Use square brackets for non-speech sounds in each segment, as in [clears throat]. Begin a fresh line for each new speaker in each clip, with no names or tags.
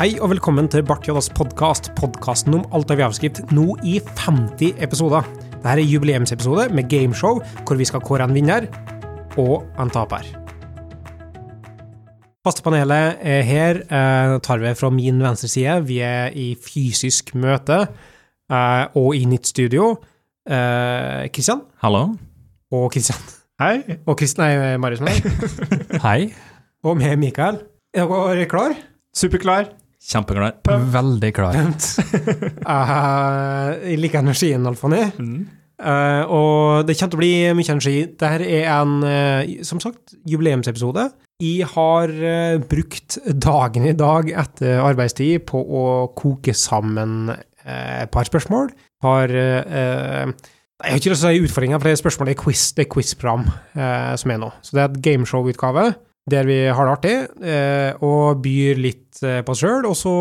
Hei og velkommen til Bart Joddas podkast, podkasten om alt av javskrift, nå i 50 episoder. Dette er jubileumsepisode med gameshow, hvor vi skal kåre en vinner og en taper. Fastepanelet er her. Eh, tar vi fra min venstre side. Vi er i fysisk møte eh, og i nytt studio. Eh, Kristian
Hallo.
og Kristian
Hei.
og Kristian, nei, Marius
[laughs]
med
Hei.
og med Mikael. Er dere klar?
Superklar.
Kjempeglad.
Veldig klar.
[laughs] Eh, Jeg liker energien, Alfani. Eh, og det kommer til å bli mye energi. Dette er en, eh, som sagt, jubileumsepisode. Jeg har eh, brukt dagen i dag etter arbeidstid på å koke sammen eh, et par spørsmål. Har eh, eh, Jeg har ikke lyst til å si utfordringer, for det er spørsmål i quiz, det er quizprogram eh, som er nå. Så det er et gameshow-utgave der vi har det artig eh, og byr litt eh, på oss sjøl. Og så,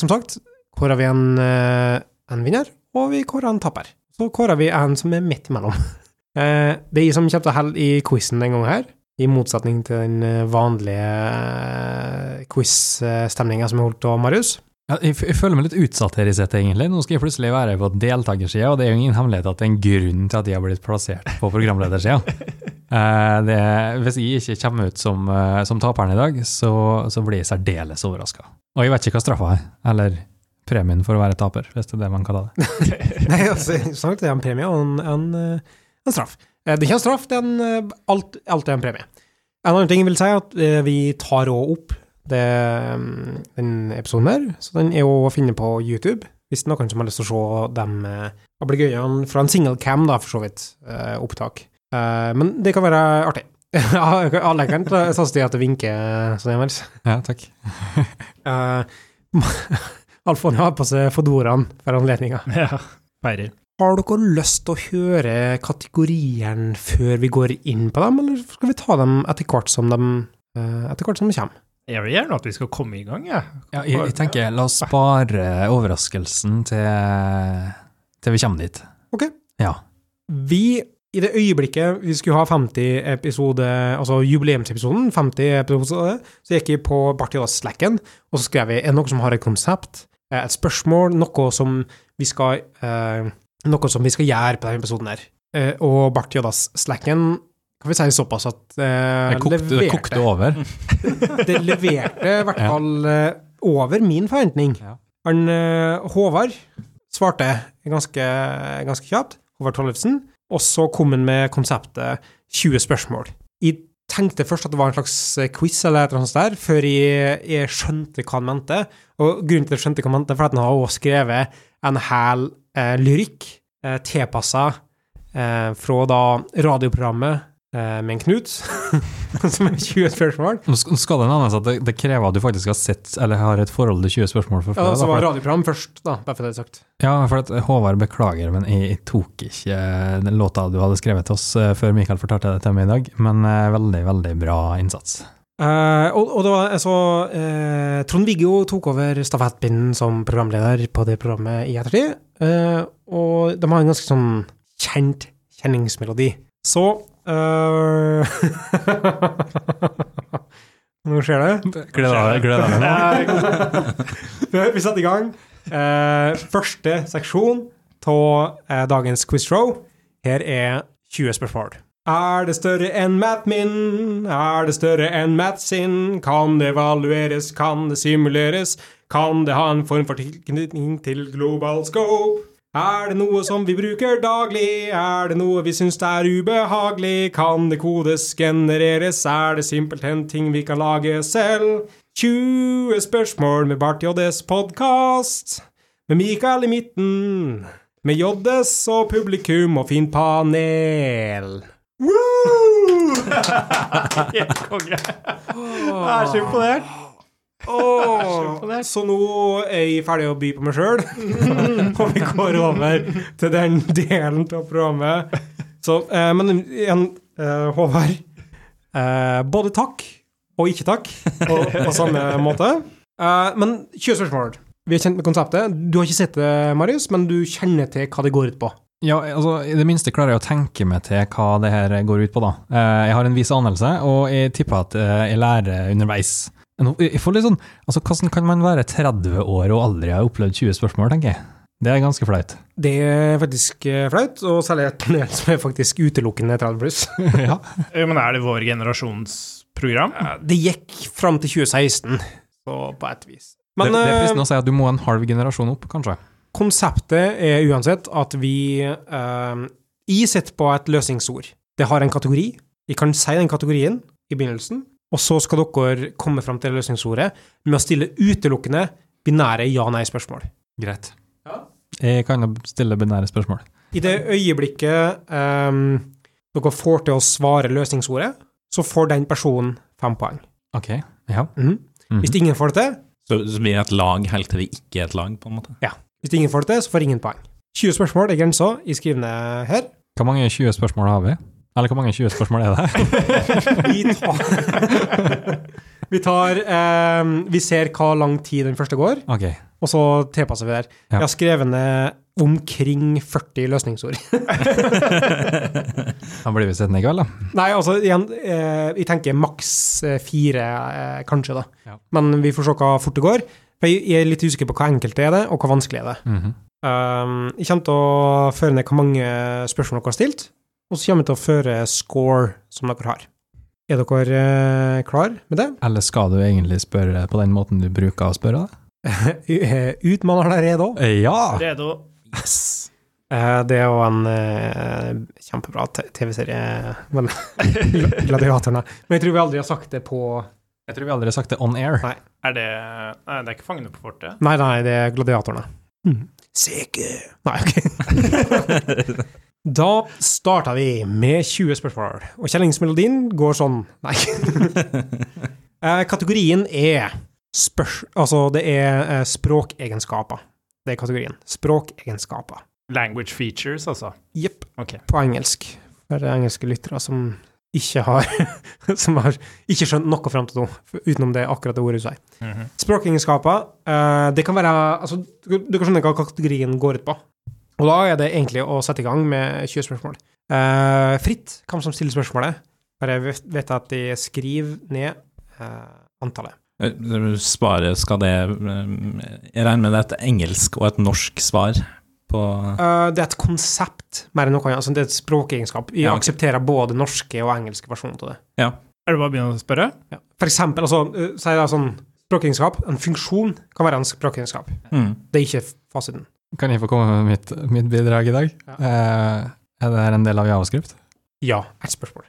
som sagt, kårer vi en, eh, en vinner, og vi kårer en taper. Så kårer vi en som er midt imellom. [laughs] Eh, Det er jeg som kommer til å holde i quizen denne gangen her, i motsetning til den eh, vanlige quiz-stemninga eh, som er holdt av Marius.
Ja, jeg, f- jeg føler meg litt utsatt her i settet, egentlig. Nå skal jeg plutselig være på deltakersida, og det er jo ingen hemmelighet at det er en grunn til at jeg har blitt plassert på programledersida.
[laughs]
Eh, det- hvis jeg ikke kommer ut som, eh, som taperen i dag, så, så blir jeg særdeles overraska. Og jeg vet ikke hva straffa er, eller premien for å være taper, hvis det er det man
[laughs]
kaller det.
Nei, altså, snart er det en premie og en, en, eh, en straff. Eh, Det er ikke en straff, det er en, eh, alt, alt er en premie. En annen ting jeg vil si, er at eh, vi tar også opp det, mm, den episoden her, så den er jo å finne på YouTube, hvis det er noen som har lyst til å se dem eh, ablegøyene fra en single cam, da, for så vidt, eh, opptak. Eh, Men det kan være artig. [laughs] Alle kan ta sats til at det vinker, så det er mer.
Ja, takk.
Eh, [laughs] Alfon har på seg fedoraen for anledninga.
Ja. Feirer.
Har dere lyst til å høre kategoriene før vi går inn på dem, eller skal vi ta dem etter hvert som de, eh, etter hvert som de kommer?
Jeg vil gjerne at vi skal komme i gang, jeg.
Ja, jeg, jeg tenker, la oss spare overraskelsen til, til vi kommer dit.
Ok.
Ja.
Vi, i det øyeblikket vi skulle ha 50 episode, altså jubileumsepisoden, 50 episode, så gikk jeg på Bartidas Slacken, og så skrev jeg, er det noe som har et konsept, eh, et spørsmål, noe som vi skal, eh, noe som vi skal gjøre på denne episoden her. Eh, og Bartidas Slacken, kan vi si såpass at eh,
Det kokte, det kokte over.
det leverte i hvert fall eh, over min forventning.
Ja.
Han eh, Håvard svarte ganske, ganske kjapt, Håvard Tollefsen, og så kom han med konseptet 20 spørsmål. Jeg tenkte først at det var en slags eh, quiz eller et eller annet sånt der, før jeg, jeg skjønte hva han mente. Og grunnen til at jeg skjønte hva han mente, er fordi han har også skrevet en hel eh, lyrikk eh, tilpassa eh, fra da radioprogrammet eh, med en Knut, [laughs] som er 20 spørsmål.
Nå sk- nå skal det nevnes at det, det krever at du faktisk har sett eller har et forhold til 20 spørsmål fra
Ja,
før.
så var
da, for,
radioprogram først, da, bare for det sagt.
at- ja, for at eh, Håvard, beklager, men jeg, jeg tok ikke eh, den låta du hadde skrevet til oss eh, før Mikael fortalte det til meg i dag, men eh, veldig, veldig bra innsats.
Eh, og, og det var altså eh, Trond-Viggo tok over stafettpinnen som programleder på det programmet i ettertid, eh, og de har en ganske sånn kjent kjenningsmelodi. Så eh, [laughs] Nå skjer [laughs] det.
Gleder deg. Gleder deg.
[laughs] Vi setter i gang. Eh, første seksjon av eh, dagens quizshow. Her er 20 spørsmål. Er det større enn Matt min? Er det større enn Matt sin? Kan det evalueres? Kan det simuleres? Kan det ha en form for tilknytning til global scope? Er det noe som vi bruker daglig? Er det noe vi syns er ubehagelig? Kan det kodes, genereres? Er det simpelthen ting vi kan lage selv? 20 spørsmål med Bart JDs podkast. Med Mikael i midten. Med JDs og publikum og fint panel. Woo!
[laughs] Helt konge. Jeg er så imponert.
så nå er jeg ferdig å by på meg sjøl,
[laughs]
og vi går over til den delen av programmet. Så, eh, men igjen, eh, Håvard. Eh, både takk og ikke takk på, på samme måte. Eh, men 20 spørsmål. Vi er kjent med konseptet. Du har ikke sett det, Marius, men du kjenner til hva det går ut på.
Ja, altså, I det minste klarer jeg å tenke meg til hva det her går ut på, da. Eh, Jeg har en viss anelse, og jeg tipper at eh, jeg lærer underveis.
Nå- Jeg får litt sånn, altså Hvordan kan man være 30 år og aldri ha opplevd 20 spørsmål, tenker jeg. Det er ganske flaut.
Det er faktisk eh, flaut, og særlig et panel som er faktisk utelukkende 30 pluss.
ja.
Jo, Men er det vår generasjons program?
[laughs] Det gikk fram til 2016, så på et vis. Men
det, det er
eh,
fristende å si at du må en halv generasjon opp, kanskje.
konseptet er uansett at vi eh, Jeg sitter på et løsningsord. Det har en kategori. Jeg kan si den kategorien i begynnelsen, og så skal dere komme fram til løsningsordet med å stille utelukkende binære ja-nei-spørsmål.
Greit.
Ja.
Jeg kan jo stille binære spørsmål.
I det øyeblikket ehm, dere får til å svare løsningsordet, så får den personen fem poeng.
Ok, ja.
Mhm.
Mhm.
Hvis ingen får det til,
Så, så blir det et lag helt til det ikke er et lag, på en måte.
hvis ingen får det til, så får ingen poeng. 20 spørsmål er grensa, jeg skriver ned her.
Hvor mange 20 spørsmål har vi? Eller hvor mange 20 spørsmål er det?
Vi tar, [laughs] vi, tar ehm, vi ser hva lang tid den første går,
Ok,
og så tilpasser vi der.
Ja.
Jeg har skrevet ned omkring 40 løsningsord.
[laughs]
[laughs]
da blir vi sittende i kveld, da.
Nei, altså, igjen, eh, jeg tenker maks eh, fire, eh, kanskje, da.
Ja.
Men vi får se hva fort det går. For jeg jeg er litt usikker på hva enkelt er det, og hvor vanskelig er det.
Mhm.
Um, jeg kommer til å føre ned hvor mange spørsmål dere har stilt, og så kommer jeg til å føre score som dere har. Er dere eh, klar med det?
Eller skal du egentlig spørre på den måten du bruker å spørre, da?
eh, Utmann allerede òg.
Eh,
Ja!
Redo.
Yes. det er jo en eh, kjempebra t- TV-serie, [laughs] men Gladiatorene. Men jeg tror vi aldri har sagt det på
Jeg tror vi aldri har sagt det on air.
Er det Nei, det er ikke Fangene på fortet.
Nei, nei, det er gladiatorene. Seke Nei, ok. [laughs] da starter vi med 20 spørsmål, og kjellingsmelodien går sånn Nei. Eh, kategorien er spørs... Altså, det er eh, språkegenskaper. Det er kategorien. Språkegenskaper.
Language features, altså.
Jepp.
Ok.
På engelsk. For engelske lyttere som ikke har [laughs] Som har ikke skjønt noe fram til nå, utenom det akkurat det ordet du sier.
Mhm.
Språkegenskaper, eh, det kan være altså, du, du kan skjønne hva kategorien går ut på. Og da er det egentlig å sette i gang med 20 spørsmål. Eh, fritt hvem som stiller spørsmålet. Bare vet vet at de skriver ned eh, antallet.
Eh, Svaret skal det eh, Jeg regner med det er et engelsk og et norsk svar på
Eh, det er et konsept mer enn noe annet. Altså, det er et språkegenskap. Vi
Ja, ok.
aksepterer både norske og engelske versjoner av det.
Er det bare å begynne å spørre?
Ja. For eksempel, altså, eh, så er det sånn språkegenskap. En funksjon kan være en språkegenskap.
mm.
Det er ikke fasiten.
Kan jeg få komme med mitt, mitt bidrag i dag?
Ja.
Eh, er det her en del av javascript?
Ja, ett spørsmål.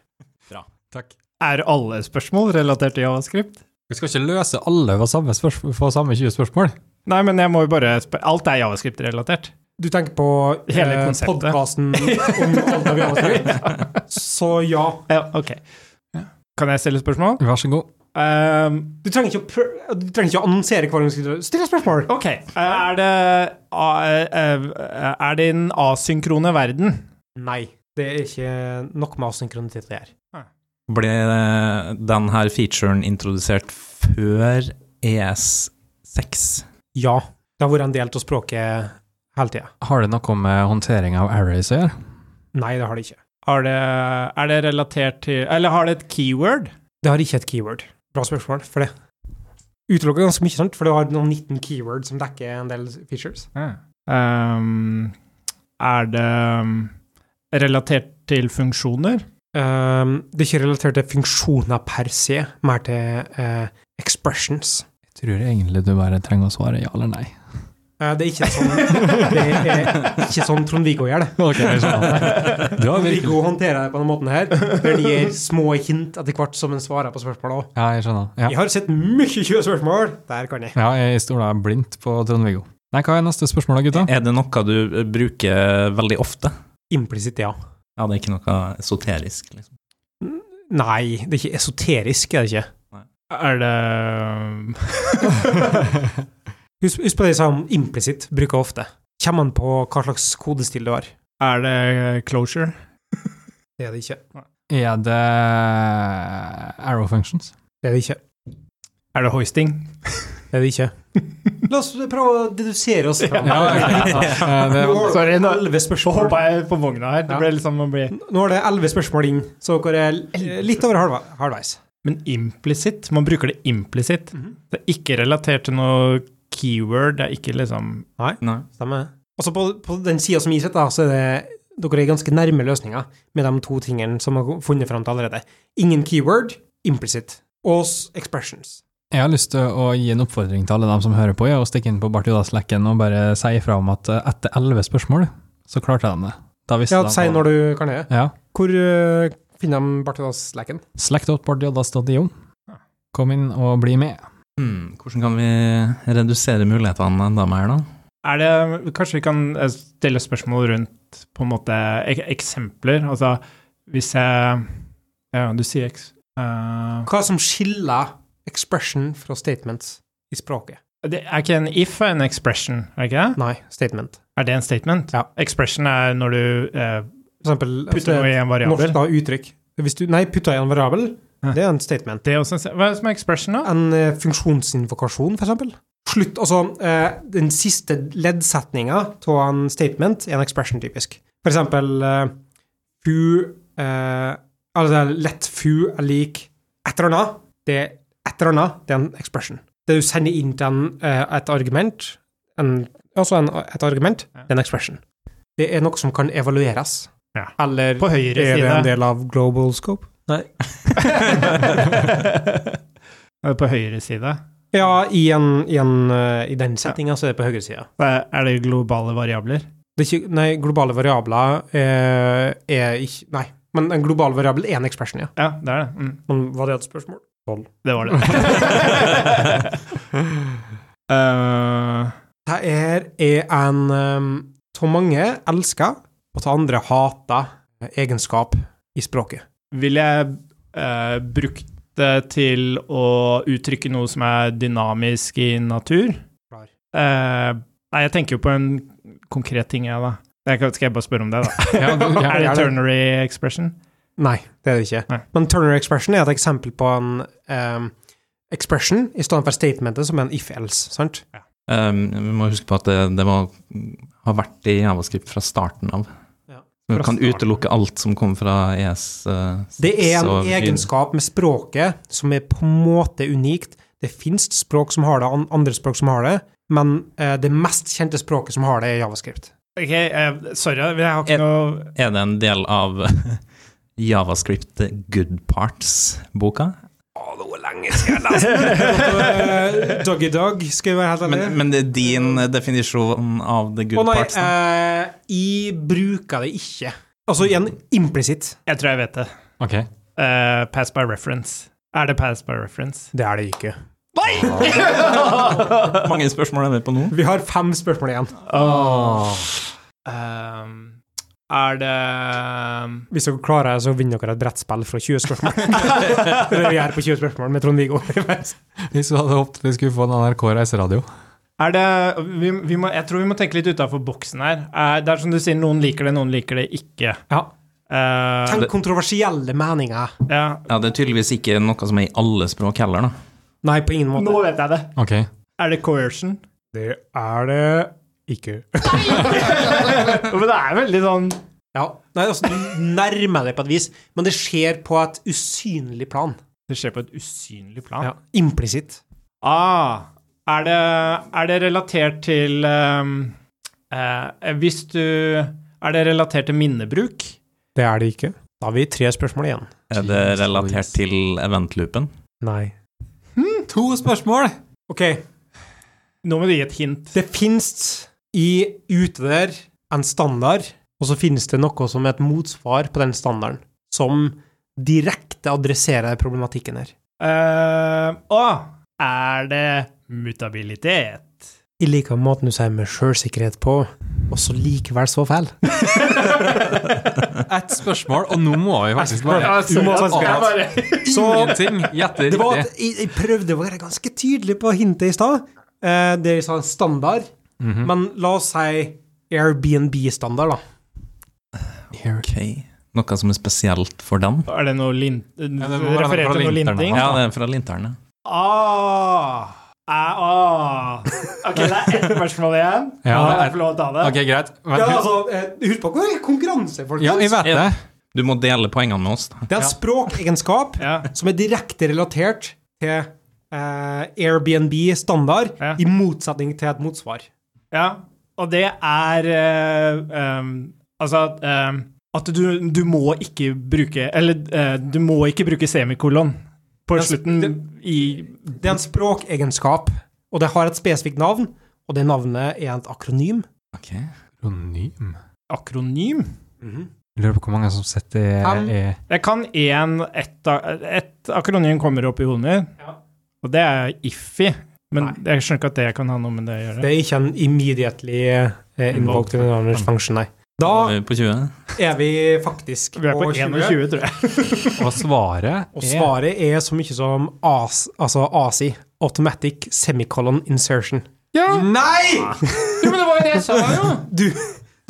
Takk.
Er alle spørsmål relatert til javascript?
Vi skal ikke løse alle for samme, spørs for samme 20 spørsmål.
Nei, men jeg må jo bare spørre Alt er javascript-relatert.
Du tenker på
Hele
eh,
konseptet.
podkasten om alle vi har
[laughs]
skrevet? Så ja.
Ja, ok. Kan jeg stille spørsmål?
Vær så god.
Ehm,
Du trenger ikke å, pr du trenger ikke å annonsere hver gang du skal stille spørsmål.
ok. Er det eh, Er det en asynkrone verden?
Nei, det er ikke nok med asynkronitet det her.
Ble eh, den her featuren introdusert før E ES6?
Ja, det har vært en del av språket hele tida.
Har det noe med håndtering av arrays å gjøre?
Nei, det har det ikke.
Er det, er det relatert til Eller har det et keyword?
Det har ikke et keyword. Bra spørsmål for det. Utelukker ganske mye, sant? for det har noen 19 keyword som dekker en del features.
Ehm, er det um, relatert til funksjoner?
Ehm, det er ikke relatert til funksjoner per se, mer til eh, expressions.
Jeg tror egentlig du bare trenger å svare ja eller nei.
Eh, [laughs] det er ikke sånn, det er ikke sånn Trond-Viggo gjør det.
Ok, jeg skjønner. Du har virkelig...
Viggo håndterer det på den måten her, der de gir små hint etter hvert som en svarer på spørsmål også.
Ja, jeg skjønner. Ja.
Jeg har sett mye 20 spørsmål, der kan jeg.
Ja, jeg stoler blindt på Trond-Viggo. Nei, hva er neste spørsmål da, gutta?
Er det noe du eh, bruker veldig ofte?
Implisitt, ja.
Ja, det er ikke noe esoterisk, liksom.
Nei, det er ikke esoterisk, er det ikke?
Er det um, [laughs]
Husk, husk på det jeg sa om implisitt, bruker jeg ofte. Kommer an på hva slags kodestil du har.
Er det closure?
Det er det ikke.
Er det arrow functions?
Det er det ikke.
Er det hoisting?
Det er det ikke. La oss prøve å dedusere oss fram.
Ja, [laughs] ja, ja. Det var...
Sorry, nå
Elleve spørsmål.
hoppa jeg på vogna her. Det
Ja.
ble liksom å bli
Nå er det elleve spørsmål inn, så dere er l- litt over halva- halvveis.
Men implisitt, man bruker det implisitt. Det er ikke relatert til noe keyword, det er ikke liksom
Nei.
Stemmer. Altså på, på den sida som jeg sitter, da, så er det dere er ganske nærme løsninga med de to tingene som har funnet fram til allerede. Ingen keyword, implicit. Og s- expressions.
Jeg har lyst til å gi en oppfordring til alle dem som hører på, ja, og stikke inn på Bart Jodas-lekken og bare si ifra om at eh, etter elleve spørsmål, så klarte de det. Da visste
Ja,
de
si når du kan det.
Ja.
Hvor øh, finner de Bartodas-leken?
Slack.bartjodas.io. Kom inn og bli med.
Hmm, hvordan kan vi redusere mulighetene en dame her, [laughs] da?
Er det Kanskje vi kan eh, stille spørsmål rundt på en måte ek eksempler? Altså hvis jeg Ja, du sier eks... eh,
Hva som skiller expression fra statements i språket?
det er ikke en if er en expression, er det ikke det?
Nei, statement.
Er det en statement?
Ja.
Expression er når du eh,
For eksempel altså,
putter noe i en variabel.
norsk da, uttrykk. Hvis du, nei, putter i en variabel,
Ja.
det er en statement.
Det er også en, hva er det som er expression, da?
En eh, funksjonsinvokasjon, for eksempel. Slutt, altså, eh, den siste leddsetninga av en statement er en expression, typisk. For eksempel eh, Fu eh, Altså, let fu er lik et eller annet. Det er et eller annet, det er en expression. Det du sender inn til en, eh, et argument, en, altså en, et argument, det er en expression. Det er noe som kan evalueres.
Ja.
Eller
På høyre
er det en
side.
del av global scope?
Er [laughs] det på høyre side?
Ja, i, en, i, en, eh, i den settinga så er det på høyre side.
Hva Er er det globale variabler?
Det er ikke, nei, globale variabler eh, er ikke Nei, men en global variabel er en expression, ja.
Ja, det er det. Mm.
Men var det et spørsmål?
Det var
[laughs]
det. [laughs] Eh,
Dette er, er en um, av mange elska og av andre hata egenskap i språket.
ville jeg eh, brukt det til å uttrykke noe som er dynamisk i natur?
Klar.
Eh, nei, jeg tenker jo på en konkret ting, jeg, da. Jeg kan- skal jeg bare spørre om det, da?
Ja,
[laughs]
du- ja,
er det
gjerne.
ternary expression?
Nei, det er det ikke.
Nei.
Men Turner expression er et eksempel på en um, expression i stedet for statementet, som er en if-else, sant?
Um, vi må huske på at det, det må ha vært i Javascript fra starten av.
Ja.
Vi
Fra
kan
starten.
utelukke alt som kom fra ES. eh,
Det er en
så vi-
egenskap med språket som er på en måte unikt. Det fins språk som har det, an- andre språk som har det, men eh, det mest kjente språket som har det, er javascript.
Ok, eh, sorry, jeg har ikke
Jeg-
noe
Er det en del av [laughs] Javascript Good Parts-boka?
Å, det var lenge siden [laughs] jeg Eh, Doggy Dog, skal jeg være helt ærlig.
Men, men det er din definisjon av the good
Å nei,
parts? da?
eh, jeg bruker det ikke. Altså igjen, implisitt.
Jeg tror jeg vet det.
Ok.
Eh, pass by reference. Er det pass by reference?
Det er det ikke.
Hvor mange spørsmål er vi på nå?
Vi har fem spørsmål igjen,
Um, er ehm, det
hvis dere klarer det, så vinner dere et brettspill fra 20
[laughs]
spørsmål. det er det vi gjør på 20 spørsmål med Trond-Viggo.
Hvis du hadde håpet vi skulle få en NRK reiseradio.
Er det vi, vi må, Jeg tror vi må tenke litt utafor boksen her. Eh, det er som du sier, noen liker det, noen liker det ikke.
Ja.
Eh,
Tenk kontroversielle meninger.
ja.
Ja, Det er tydeligvis ikke noe som er i alle språk heller, da.
Nei, på ingen måte.
Nå vet jeg det.
Ok.
Er det coercion?
Det er det ikke.
Jo, Men det er veldig sånn
Ja. Nei, altså, du nærmer deg på et vis, men det skjer på et usynlig plan.
Det skjer på et usynlig plan.
Ja. Implisitt.
Ah, er, det, er det relatert til ehm, eh, Hvis du Er det relatert til minnebruk?
Det er det ikke. Da har vi tre spørsmål igjen.
Er det
Jesus
relatert
Louise.
til eventloopen?
Nei.
To spørsmål!
Ok,
Nå må du gi et hint.
det finnes i ute der en standard, og så finnes det noe som er et motsvar på den standarden, som direkte adresserer problematikken her.
Eh, Å, er det [laughs] mutabilitet?
I like måten du sier med sjølsikkerhet på, og så likevel så feil.
Ett spørsmål, og nå må vi faktisk bare
Altså,
må faktisk
jeg
være-
bare-
Ingenting gjette
Det var
riktig.
at jeg, jeg prøvde å være ganske tydelig på hintet i stad. Eh, det jeg sa standard, men la oss si Airbnb-standard, da.
Ok. Noe som er spesielt for den?
Er det noe lin...
det må være
referert
fra
til noe
linterne,
linting?
Ja, det er fra linterne.
Ah, ah, ah. Ok, det er ett spørsmål igjen. Kan
Ja, det er-
jeg få lov til å ta det.
Ok, greit.
Ja,
Vent,
altså, eh, husk på hvor er konkurranse, folkens!
ja, jeg vet det.
Du må dele poengene med oss. da.
Det er en språkegenskap
Ja.
som er direkte relatert til eh, Airbnb-standard,
Ja.
i motsetning til et motsvar.
ja. Og det er eh, um, Altså eh, at du, du må ikke bruke Eller eh, du må ikke bruke semikolon på
Ja,
slutten i
Det er en språkegenskap, og det har et spesifikt navn, og det navnet er et akronym.
Ok.
Akronym?
akronym.
Mhm.
Lurer på hvor mange som sitter
Fem.
i
Jeg kan én Ett et akronym kommer opp i hodet mitt,
Ja.
og det er IFFI. Men
Nei.
jeg skjønner ikke at det kan ha noe med det å gjøre.
Det er ikke en immediately eh, invoked in another function, nei.
Da
Da
er vi På 20?
er vi faktisk
Vi er på
20,
21, tror jeg.
Og svaret
Og svaret er så mye som AS, altså ASI, Automatic Semicolon Insertion.
Ja,
Nei!
Ah. men det var jo det jeg sa,
[laughs]
jo!
Du,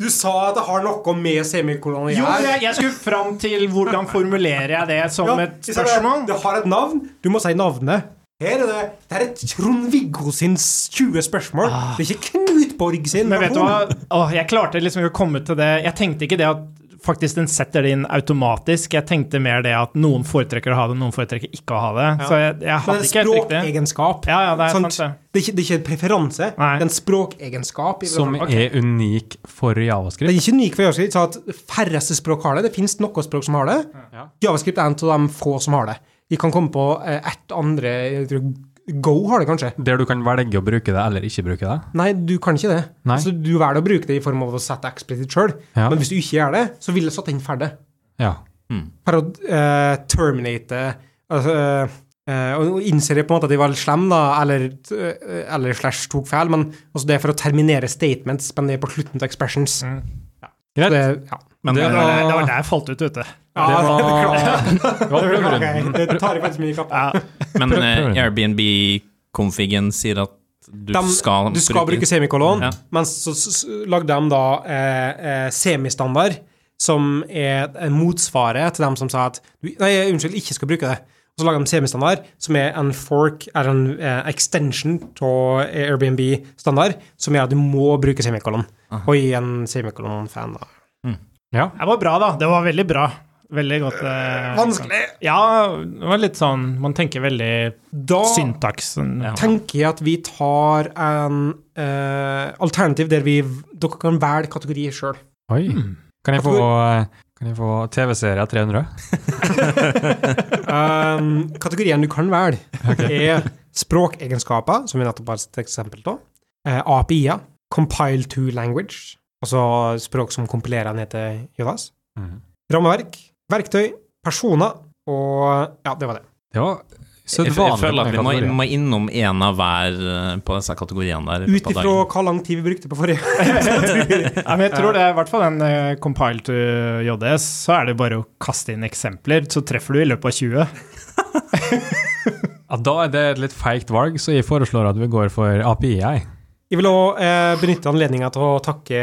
du sa at det har noe med semikolon å
Jo,
gjøre.
jeg, jeg skulle fram til hvordan formulerer jeg det som
Ja,
et
hvis jeg bare-
spørsmål.
Det har et navn. Du må si navnet. Her er det, det er et Trond-Viggo sins 20 spørsmål. Det er ikke Knut Borg sin.
Ah. Men vet du
versjon.
hva, Åh, jeg klarte liksom ikke å komme til det. Jeg tenkte ikke det at faktisk den setter det inn automatisk. Jeg tenkte mer det at noen foretrekker å ha det, noen foretrekker ikke å ha det. Så jeg, jeg
Men det er
hadde ikke
en
helt riktig.
språkegenskap.
Ja, ja, det er
Sant?
sant, det.
Det er ikke, det er ikke en preferanse.
Nei.
Det er en språkegenskap. i hvert
som
fall.
er unik for
Det
javascript
er ikke unikt for javascript. Så at færreste språk har det. Det finnes noen språk som har det. Javascript er en av de få som har det. Vi kan komme på eh, ett andre jeg tror Go har det kanskje.
Der du kan velge å bruke det eller ikke bruke det.
Nei, du kan ikke det.
Nei.
Altså, du velger å bruke det i form av å sette eksplisitt sjøl,
Ja.
men hvis du ikke gjør det, så vil jeg satt inn ferdig.
Ja.
For å eh, terminate altså, eh, Og innser jeg på en måte at de var slemme, da, eller, eh, eller slash tok feil, men også det er for å terminere statements, men det er på slutten av expressions.
Mm.
Så Det, ja.
Men
Det
det,
Det
var,
var
var-
der- det var der jeg falt ut, vet du.
Ja,
Det var-
det
det var
beklager jeg.
grunnen.
Det tar jeg faktisk mye i kappen.
Ja.
men
Prøv- prøv det.
Airbnb-konfigen sier at du
Dem-
skal
du skal bruke semikolon,
Ja.
men så, så, så lagde de da eh, eh, semistandard, som er en motsvaret til dem som sa at du, Nei, unnskyld, ikke skal bruke det. Og så lager de semistandard, som er en fork, eller en eh, extension av Airbnb-standard, som gjør at du må bruke semikolon. Og gi en semikolon-fan, da.
ja.
Det var bra, da. Det var veldig bra. Veldig godt. eh,
Vanskelig!
Ja, det var litt sånn Man tenker veldig
Da
syntaksen. Ja.
tenker jeg at vi tar en eh, alternativ der vi Dere kan velge kategori sjøl.
Oi.
Hmm.
Kan jeg få,
Jeg
kan jeg få TV-serie 300?
Um, kategorien du kan velge, er språkegenskaper, som vi nettopp har sett et eksempel av. Eh, API-er, compile to language, altså språk som kompilerer ned til JS.
Hmm.
Rammeverk, verktøy, personer og Ja, det var det.
Det var
Jeg,
sedvanlig.
jeg føler at vi må,
kategori.
må innom en av hver eh, på disse kategoriene der. i løpet
Ut
av
ifra
dagen.
hvor lang tid vi brukte på forrige.
Ja, men jeg tror det er i hvert fall den eh, compile to JS, så er det bare å kaste inn eksempler, så treffer du i løpet av 20.
Ja, da er det et litt feigt valg, så jeg foreslår at vi går for API. jeg.
Jeg vil òg eh, benytte anledninga til å takke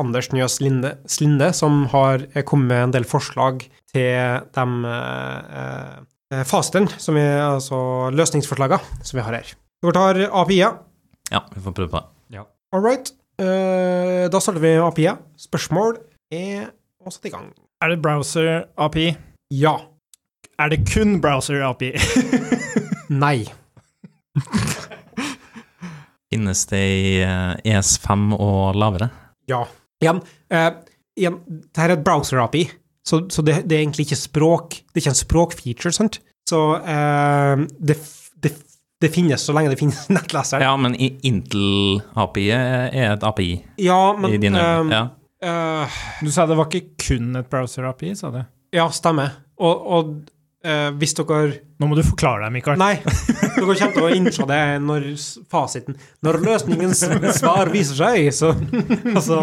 Anders Njøs Linde, Slinde, som har eh, kommet med en del forslag til de eh, eh, fasteren, som er altså løsningsforslaga som vi har her. Dere tar API-a.
Ja, vi får prøve på det.
All right. Eh, da starter vi med API-a. Spørsmål er å sette i gang.
Er det browser API?
Ja.
Er det kun browser API?
Nei.
Finnes det i eh, ES5 og lavere?
Ja. Igjen, eh, igjen det her er et browser-API, så, så det, det er egentlig ikke språk. Det er ikke en språkfeature, sant? Så eh, det, f- det, f- det finnes så lenge det finnes [laughs] nettleser.
Ja, men i- Intel-API eh, er et API
men
i dine øyne.
eh,
Ja.
eh,
Du sa det var ikke kun et browser API, sa du?
ja, stemmer. Og, og eh, hvis dere
Nå må du forklare deg, Mikael.
[laughs]
Nei, dere kommer til å innse det når s- fasiten Når løsningens svar viser seg, så [laughs] Altså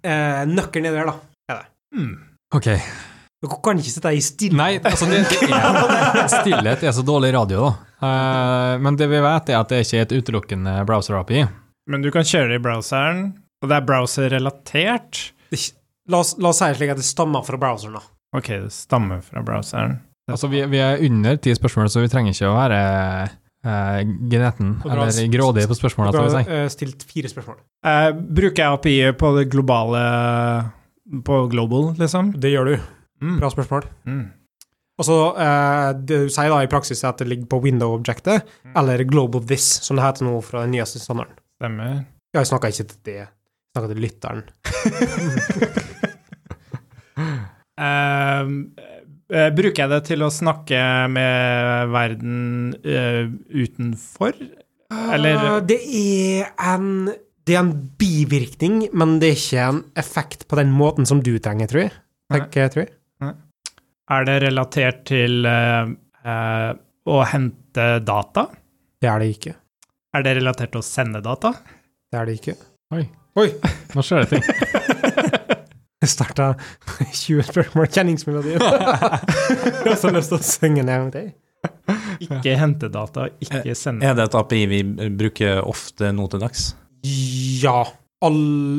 eh, Nøkkelen er der, da.
Hmm.
Ok.
Dere kan ikke sitte i stille
Nei, altså det, det er, stillhet er så dårlig radio, da. Eh, men det vi vet, er at det ikke er et utelukkende browser-API.
Men du kan kjøre det i browseren, og det er browser-relatert.
La oss, la oss si det slik at det stammer fra browseren, da.
Ok, det stammer fra browseren.
Altså, vi, vi er under ti spørsmål, så vi trenger ikke å være eh, gneten
Og bra.
eller grådige på spørsmålene.
Dere
Skal
har
vi si.
eh, stilt fire spørsmål.
Eh, bruker jeg API på det globale På global, liksom?
Det gjør du.
Mm.
Bra spørsmål.
Mm.
Og så eh, det du sier da i praksis at det ligger på window-objektet, eller global this, som det heter nå fra den nyeste standarden.
Stemmer.
Ja, Jeg snakka ikke til det, jeg snakka til lytteren.
Ehm, eh, bruker jeg det til å snakke med verden eh, utenfor? Eller-
Eh, det er en det er en bivirkning, men det er ikke en effekt på den måten som du trenger, tror jeg. Tenker, jeg, tror jeg.
Er det relatert til eh, eh, å hente data?
Det er det ikke.
Er det relatert til å sende data?
Det er det ikke.
Nå
[laughs]
skjer det ting.
Jeg starta [laughs] 20 spørsmål kjenningsmelodien. jeg har så lyst til å synge den en gang til.
Ikke hente data, ikke sende.
Er det et API vi bruker ofte nå til dags?
Ja. All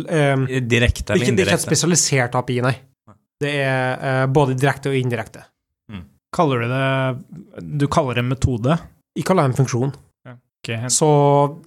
ehm,
Direkte
det, er
eller
ikke, det er ikke et
indirekte?
spesialisert API, nei. Det er eh, både direkte og indirekte.
Kaller du det Du kaller det metode?
Jeg kaller det en funksjon.
Ikke [laughs] hente.
Så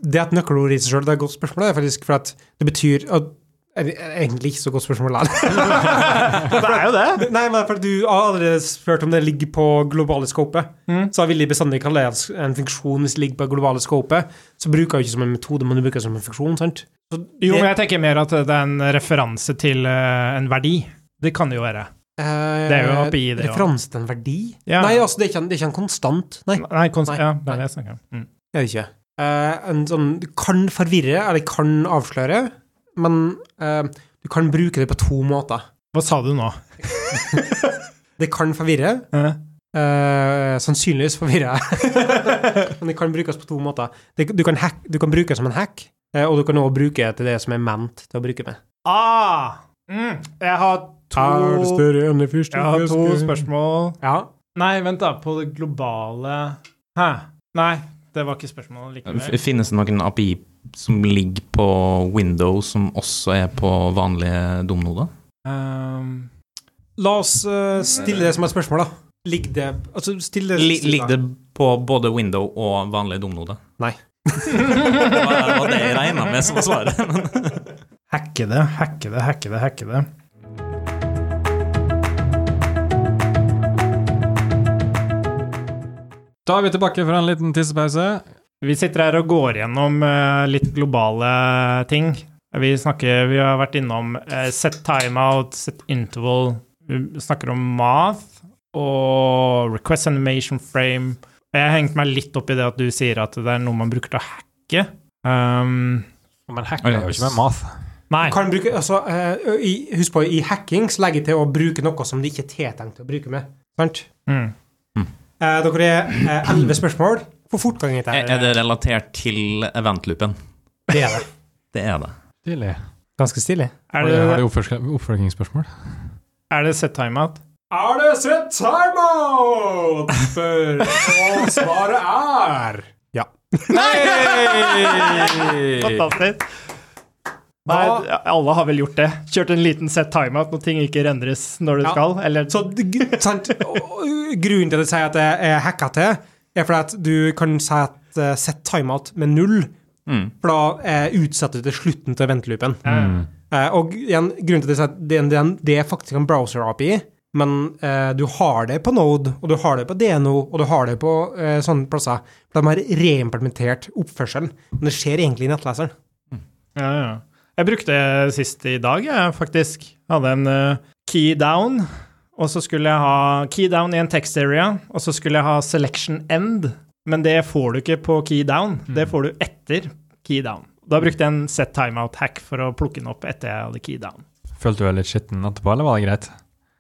det er et nøkkelord i seg sjøl. Det er et godt spørsmål, det er faktisk, for at det betyr at, er det- er det Egentlig ikke så godt spørsmål.
[laughs] Det er jo det!
Nei, men for du har allerede spurt om det ligger på globale skopet.
Mm.
Så jeg vil jeg bestandig kalle det en funksjon hvis det ligger på globale skopet. Så bruker jeg ikke som en metode, men du bruker det som en funksjon, sant? Så det-
Jo, men jeg tenker mer at det er en referanse til eh, en verdi. Det kan det jo være.
Eh,
Det er jo API, det, ja.
Referanse til en verdi?
Ja.
Nei, altså, det er, ikke en, det er ikke en konstant. Nei,
Nei, konst,
Nei.
ja, det er det jeg snakker om. Mm.
det er det ikke. Eh, en sånn Du kan forvirre, eller kan avsløre, men eh, du kan bruke det på to måter.
Hva sa du nå?
Det kan forvirre.
Eh?
Eh, sannsynligvis forvirrer jeg. [laughs] Men det kan brukes på to måter. Det, du, kan hack, du kan bruke det som en hack, eh, og du kan også bruke det til det som er ment til å bruke det.
Ah! Mm. Jeg har to,
større enn det første
jeg har to spørsmål.
Ja.
Nei, vent da, på det globale Hæ? Nei, det var ikke spørsmålet likevel.
F- Finnes det noen API som ligger på Windows, som også er på vanlige domnoder?
Ehm,
La oss eh, stille det som et spørsmål, da. Ligger det Altså, stille det
Li- Ligger det på både Window og vanlige domnoder?
Nei.
[laughs] Det var, det var det jeg regna med som var svaret.
hacke det, hacke det, hacke det, hacke det.
Da er vi tilbake fra en liten tissepause.
Vi sitter her og går gjennom eh, litt globale ting. Vi snakker, vi har vært innom eh, set timeout, set interval, vi snakker om math og request animation frame. Jeg har hengt meg litt opp i det at du sier at det er noe man bruker til å hacke. Um,
Men hacker er jo ikke med math.
nei,
Du Kan bruke, altså, eh, i, husk på, i hacking så legger jeg til å bruke noe som det ikke er tiltenkt å bruke med. Sant?
mm.
Eh, dere er eh, elleve spørsmål. Få fortgang i dette.
[laughs] Er
her.
er det relatert til eventloopen?
Det er det.
Det er det.
Tidlig.
Ganske stilig.
er,
Har
det,
du oppfølg- oppfølgingsspørsmål?
er det set timeout?
Er det sett timeout? Spør, og svaret er Ja.
Fantastisk. Nei, alle har vel gjort det. Kjørt en liten set timeout når ting ikke rendres når det
Ja.
skal. Eller
Så d- g- sant, og- og grunnen til at jeg sier at jeg er hacka til, er fordi at du kan si at eh, sett timeout med null,
Mm.
for da eh, utsetter du til slutten til venteloopen.
Mm.
Eh, og igjen, grunnen til at jeg sier at det, er en- det, er en- det er faktisk en browser-API, men eh, du har det på Node, og du har det på DNO, og du har det på eh, sånne plasser. For de har reimplementert oppførselen, men det skjer egentlig i nettleseren.
Ja, ja. Jeg brukte det sist i dag, jeg, faktisk. Jeg hadde en eh, key down, og så skulle jeg ha key down i en text area, og så skulle jeg ha selection end, men det får du ikke på key down.
Mm.
Det får du etter key down. Da brukte jeg en set timeout-hack for å plukke den opp etter jeg hadde key down.
Følte du deg litt skitten etterpå, eller var det greit?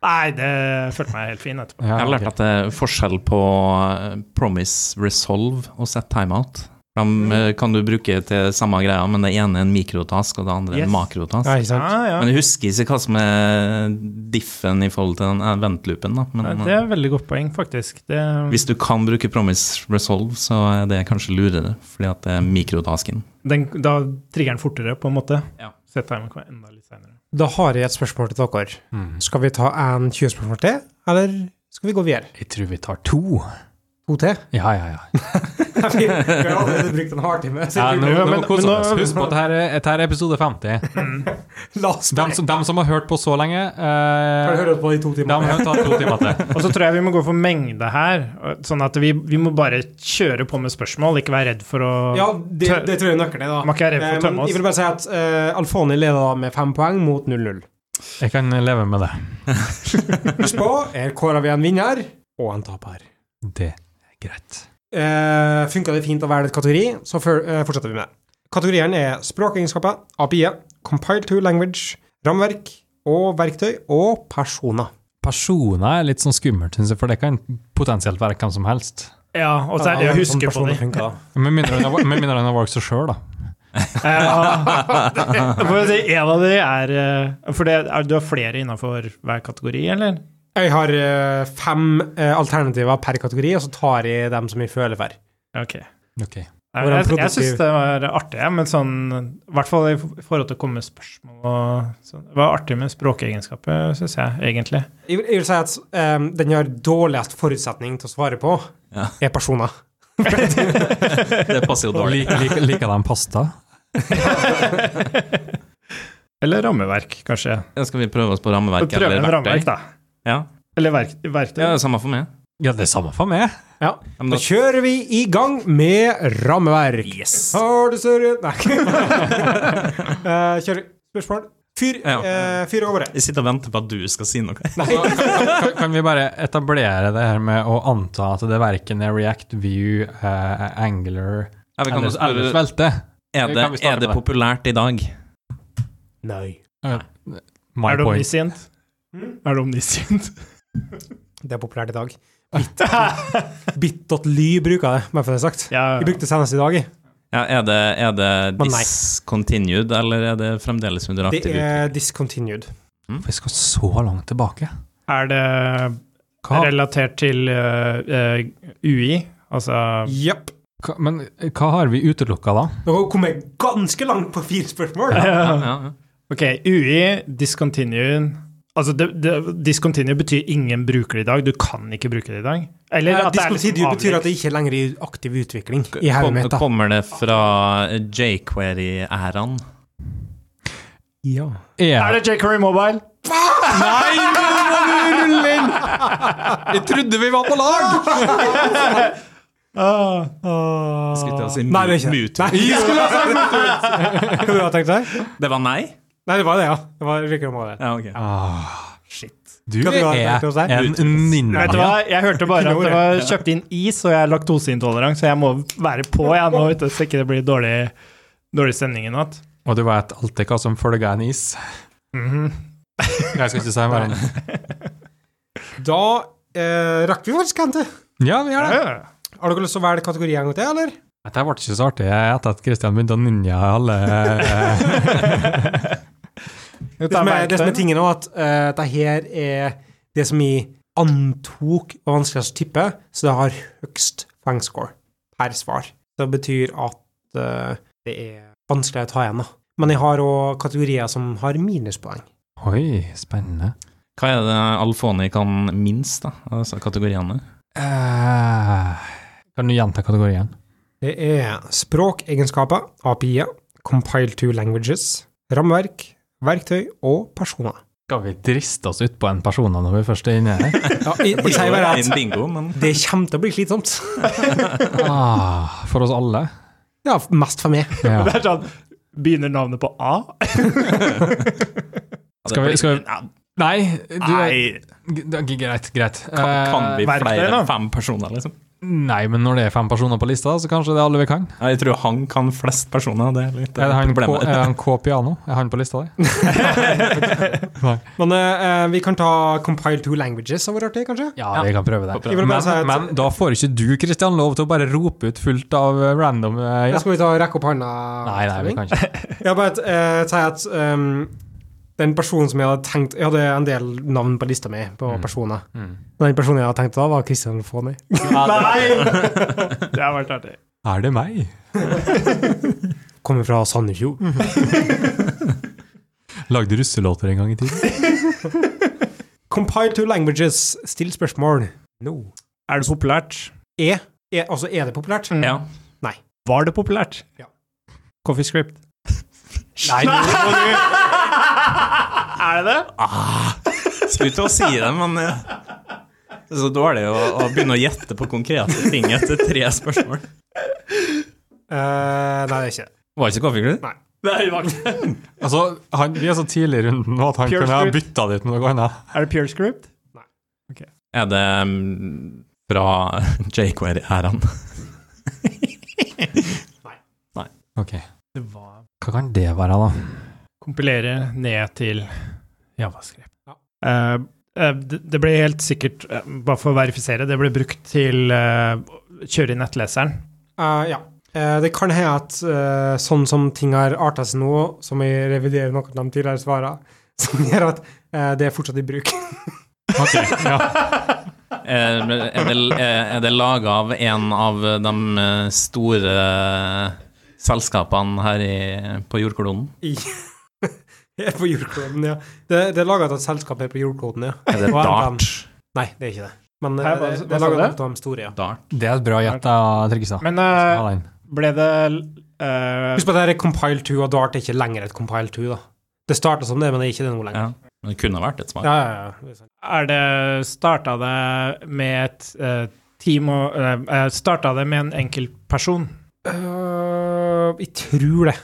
Nei, det følte meg helt fin etterpå.
Jeg har lært at det er forskjell på eh, promise resolve og set timeout. De
Mm.
eh, kan du bruke til samme greia, men det ene er en mikrotask, og det andre er
Yes.
en makrotask.
ikke sant?
Ja, ja.
Men jeg husker ikke hva som er diffen i forhold til den eh, ventloopen, da. Men
Nei,
eh,
Det er et veldig godt poeng, faktisk. Det,
hvis du kan bruke promise resolve, så er det kanskje lurere, fordi at det er
[laughs]
mikrotasken.
den, da trigger den fortere, på en måte.
Ja.
Set timeout kommer enda litt senere.
Da har jeg et spørsmål til dere.
Mm.
Skal vi ta en 20-spørsmål til, eller skal vi gå videre? [laughs]
Jeg tror vi tar to.
To til?
Ja, ja, ja.
Vi vi har allerede brukt en halvtime. så
Ja,
vi-
nå,
Ja, men-
nå koser vi
men nå-
oss. Husk på at dette er, dette er episode 50.
La oss
De som, dem som har hørt på så lenge,
Kan du
eh,
høre oss på i to
de
timer.
har tatt to timer til.
Og så tror jeg vi må gå for mengde her. Sånn at vi, vi må bare kjøre på med spørsmål, ikke være redd for å
Ja, det, det tror jeg er nøkkelen er, da.
Man kan være redd for å
Eh,
tømme
Men
oss.
jeg vil bare si at eh, Alfoni leder da med fem poeng mot 0-0.
Jeg kan leve med det.
Husk på, her kårer vi en vinner og en taper.
Det er greit.
Uh, Funka det fint å være litt kategori, så før, eh, fortsetter vi med. Kategorien er språkegenskaper, API, compiled to language, rammeverk og verktøy og personer.
Personer er litt sånn skummelt, synes jeg, for det kan potensielt være hvem som helst.
Ja, og så er det å
sånn
huske Altså, på dem.
det.
Med mindre han har- med mindre han har valgt seg sjøl, da.
Eh, En av de er eh, For det er, du har flere innafor hver kategori, eller?
Jeg har eh, fem eh, alternativer per kategori, og så tar jeg dem som jeg føler for.
Ok.
Ok.
Nei,
Hvordan
Jeg, jeg
produktiv-
syns det var artig, ja, men sånn I hvert fall i for- forhold til å komme med spørsmål og sånn. Det var artig med språkegenskaper, syns jeg,
[laughs]
egentlig.
Jeg vil, jeg vil si at eh, den jeg har dårligst forutsetning til å svare på,
Ja.
er personer.
Det passer jo dårlig.
Lik, lik, liker de pasta?
Eller rammeverk, kanskje.
Skal vi prøve oss på rammeverk
Prøve
eller
med rammeverk,
verktøy?
da.
Ja.
Eller verk, verktøy.
ja, det er samme for meg.
Ja, det er samme for meg.
Ja.
Ja, men
Da
da-
kjører vi i gang med rammeverk.
Yes.
Har du større Nei.
[laughs]
[laughs] Eh, kjør spørsmål. Fyr,
Ja.
eh, fyr over det.
Jeg sitter og venter på at du skal si noe.
Kan, kan vi bare etablere det her med å anta at det verken er React, View, eh, Angular
Ja, vi kan
eller,
jo spørre-
eller Svelte?
er det,
Kan vi starte
er det
med det?
populært i dag?
Nei.
My
er du
point.
omniscient?
Hm?
Er du
[laughs]
omniscient?
Det er populært i [laughs] dag. Bit- Bit.ly bruker det, bare for det er sagt.
Ja,
Vi brukte det senest i dag.
Ja, er det, er det
Men nei.
discontinued, eller er det fremdeles under
Det
aktiv utvikling?
er discontinued.
Vi skal så langt tilbake.
er det
Hva,
relatert til eh, eh, UI? Altså
Jepp.
hva, men hva har vi utelukka da?
Nå kom jeg ganske langt på fire spørsmål.
Ja, ja, ja.
Ok, UI, discontinue Altså, det, det, discontinue betyr ingen bruker det i dag. Du kan ikke bruke det i dag. Eller
Eh,
at det er liksom
Discontinued betyr at
avleggs.
det ikke er lenger i aktiv utvikling i hodet
Kom,
mitt. da.
kommer det fra jQuery-æraen?
Ja.
Er det jQuery Mobile?
Nei, nå må du rulle inn! Jeg trodde vi var på lag!
Skulle til å si
Nei, det er ikke det.
Mute.
Nei, jeg skulle ha sagt
[laughs]
mute. Hva du har tenkt deg?
Det var nei?
Nei, det var det, ja. Det var Rikker om det.
Ja, ok.
Du
Hva du har tenkt å si?
er en
Vet du
ninja.
hva, jeg hørte
[laughs]
bare at det var kjøpt inn is, og jeg er laktoseintolerant, så jeg må være på jeg nå, vet du, så ikke det blir dårlig, dårlig stemning i natt.
Og du vet alltid hva som følger en is.
Mhm.
Jeg skal ikke si mer enn
Da eh, rakk vi faktisk en til.
[laughs] Ja, vi gjør det.
Ja. [laughs]
Har dere lyst til å velge kategori en gang til, eller?
Dette ble ikke så artig etter at Kristian begynte å ninja alle eh,
Det som er, det som er tingen nå, at eh, dette her er det som jeg antok var vanskeligst å tippe, så det har høgst fang score per svar. Det betyr at eh, det er vanskelig å ta igjen, da. Men jeg har òg kategorier som har minuspoeng.
Oi, spennende.
Hva er det Alfoni kan minst, da? Altså kategoriene?
Eh, kan du gjenta kategorien?
Det er språkegenskaper, API-er, compile to languages, rammeverk, verktøy og personer.
Skal vi driste oss ut på en person da, når vi først er inne her?
Ja, jeg, jeg sier bare
Det
at
er en bingo, men
det kommer til å bli slitsomt.
[laughs] Ah, for oss alle?
Ja, mest for meg.
Ja.
Det er sånn, begynner navnet på A?
Skal vi- skal vi-
Ja,
Nei, du,
Nei,
G- da- g- greit, greit.
kan, kan vi
verktøy,
flere
da?
enn fem personer, liksom?
Eh, Nei, men når det er fem personer på lista, så kanskje det er alle vi kan.
Ja, Jeg tror han kan flest personer, det er litt eh,
Er det han, K,
problemet.
er han K piano? Er han på lista der?
Men eh, eh, vi kan ta compile to languages, som var artig, kanskje?
Ja, vi kan prøve det.
Får prøve.
Jeg vil bare
Men,
si at-
men da får ikke du, Kristian, lov til å bare rope ut fullt av eh, random eh,
Da
ja.
skal vi ta rekke opp hånda.
Nei, nei, vi kan ikke.
Jeg bare eh, si at ehm, den personen som jeg hadde tenkt Jeg hadde en del navn på lista mi på
Mm.
personer. Den personen jeg hadde tenkt da, var Christian Foni.
Nei! [laughs] Det har vært artig.
Er det meg?
Kommer fra Sandefjord.
Lagde russelåter en gang
[laughs]
i tiden?
Compile to languages. Still spørsmål. No.
Er det populært?
E. Er, altså, er det populært?
Mm.
Ja.
Var det populært?
Ja.
Coffee Script.
Nei, nå må du
Er det det?
[laughs] Skulle til å si det, men eh, det er så dårlig å, å begynne å gjette på konkrete ting etter tre spørsmål.
[laughs] Eh, Nei, det er ikke det.
Var ikke kaffeklubb?
Nei, det var ikke det.
Altså, han, vi er så tidlig i runden nå at han
Pure
kunne ha
Spirit.
bytta det ut med noe annet.
Er det Pure Script?
Er det mm, fra Jquare-æraen?
Ok,
Det var
hva kan det være, da?
Kompilere ned til Javascript.
Ja.
Eh, eh, det det ble helt sikkert, eh, bare for å verifisere, det ble brukt til eh, å kjøre i nettleseren.
Eh, ja. Eh, det kan hende at eh, sånn som ting har arta seg nå, som jeg reviderer noen av de tidligere svarene, [laughs] som gjør at eh, det er fortsatt i bruk. [laughs]
Ok, ja.
Er er det, eh, er det laga av en av de store eh, selskapene her i, på jordkloden?
I, er på jordkloden, ja. Det, det er laga av et selskap her på jordkloden, ja.
Er det
Og en
Dart?
Nei, det er ikke det. Men eh,
Hæ, hva-
det,
hva
det er
sa
laga
du?
av de store, ja.
Dart.
[laughs] Det er et bra gjett, da, Tryggestad.
Men eh,
Ha den.
ble det eh,
Husk på at det her er Compile 2, og Dart er ikke lenger et Compile 2, da. Det starta som det, men det er ikke det nå lenger.
Ja. Men det kunne vært et smak.
Ja, ja, ja. Det er sant.
Er det Starta det med et eh, team og eh, eh, Starta det med en enkeltperson?
Øh, jeg tror det.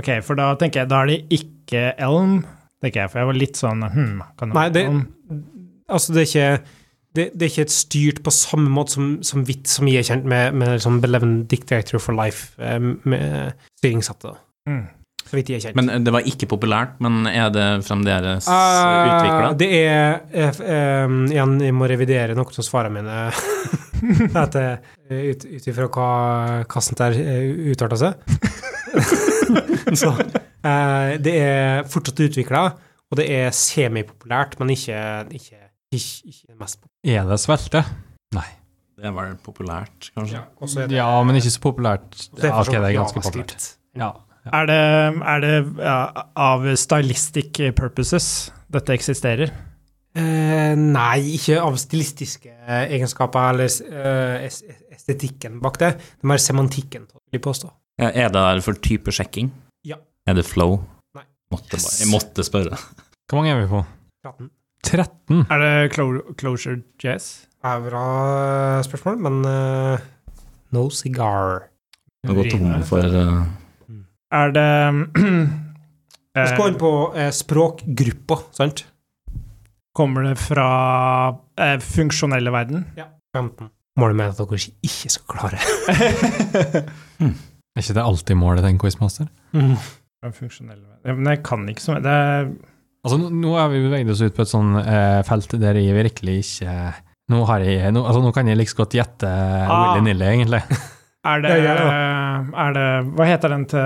Ok, for da tenker jeg Da er det ikke Elm, tenker jeg, for jeg var litt sånn hm, kan
Nei, det-
Elm?
Altså, det er ikke det, det er ikke et styrt på samme måte som, som vidt som jeg er kjent med, med liksom Beleven Dictator for Life, eh, med styringssatte. da.
Mm.
Så vidt jeg er kjent.
Men eh, det var ikke populært, men er det fremdeles
Eh,
utvikla?
det er eh, f- eh, Igjen, jeg må revidere noen av svarene mine [laughs] at, eh, ut ut ifra hva kassen der eh, utarta seg. [laughs] Så eh, det er fortsatt utvikla, og det er semipopulært, men ikke, ikke, ikke, ikke det mest populære.
Er det svelte?
Det var populært, kanskje.
Og så er det-
Ja, men ikke så populært.
det er
Ja,
for
ok,
så vidt
det er ganske
javascript.
populært. Ja.
Er det, er det ja, av stylistic purposes dette eksisterer?
Eh, nei, ikke av stilistiske eh, egenskaper eller eh, es- es- estetikken bak det, det er mer semantikken, vil jeg påstå.
Er det der for typesjekking?
Ja.
Er det flow?
Nei.
Måtte bare,
Yes.
jeg måtte spørre.
Hvor mange er vi på?
Praten.
13.
Er det clo Closure Jazz?
Det er bra spørsmål, men eh, no cigar.
Jeg har gått tom for eh,
Er det [clears throat]
Vi
eh,
skal inn på eh, språkgruppa, sant?
Kommer det fra eh, funksjonelle verden?
15. Målet med at dere ikke skal klare
Er ikke det alltid målet til en quizmaster?
Mm.
Den funksjonelle verden. Ja, Men jeg kan ikke så mye. Det er
Altså, nå- nå har vi beveget oss ut på et sånn eh, felt der jeg virkelig ikke nå, har jeg, nå, altså, nå kan jeg like så godt gjette eh,
Ah.
Willy Nille, egentlig. [laughs]
Er det,
Det gjør jeg
er det Hva heter den til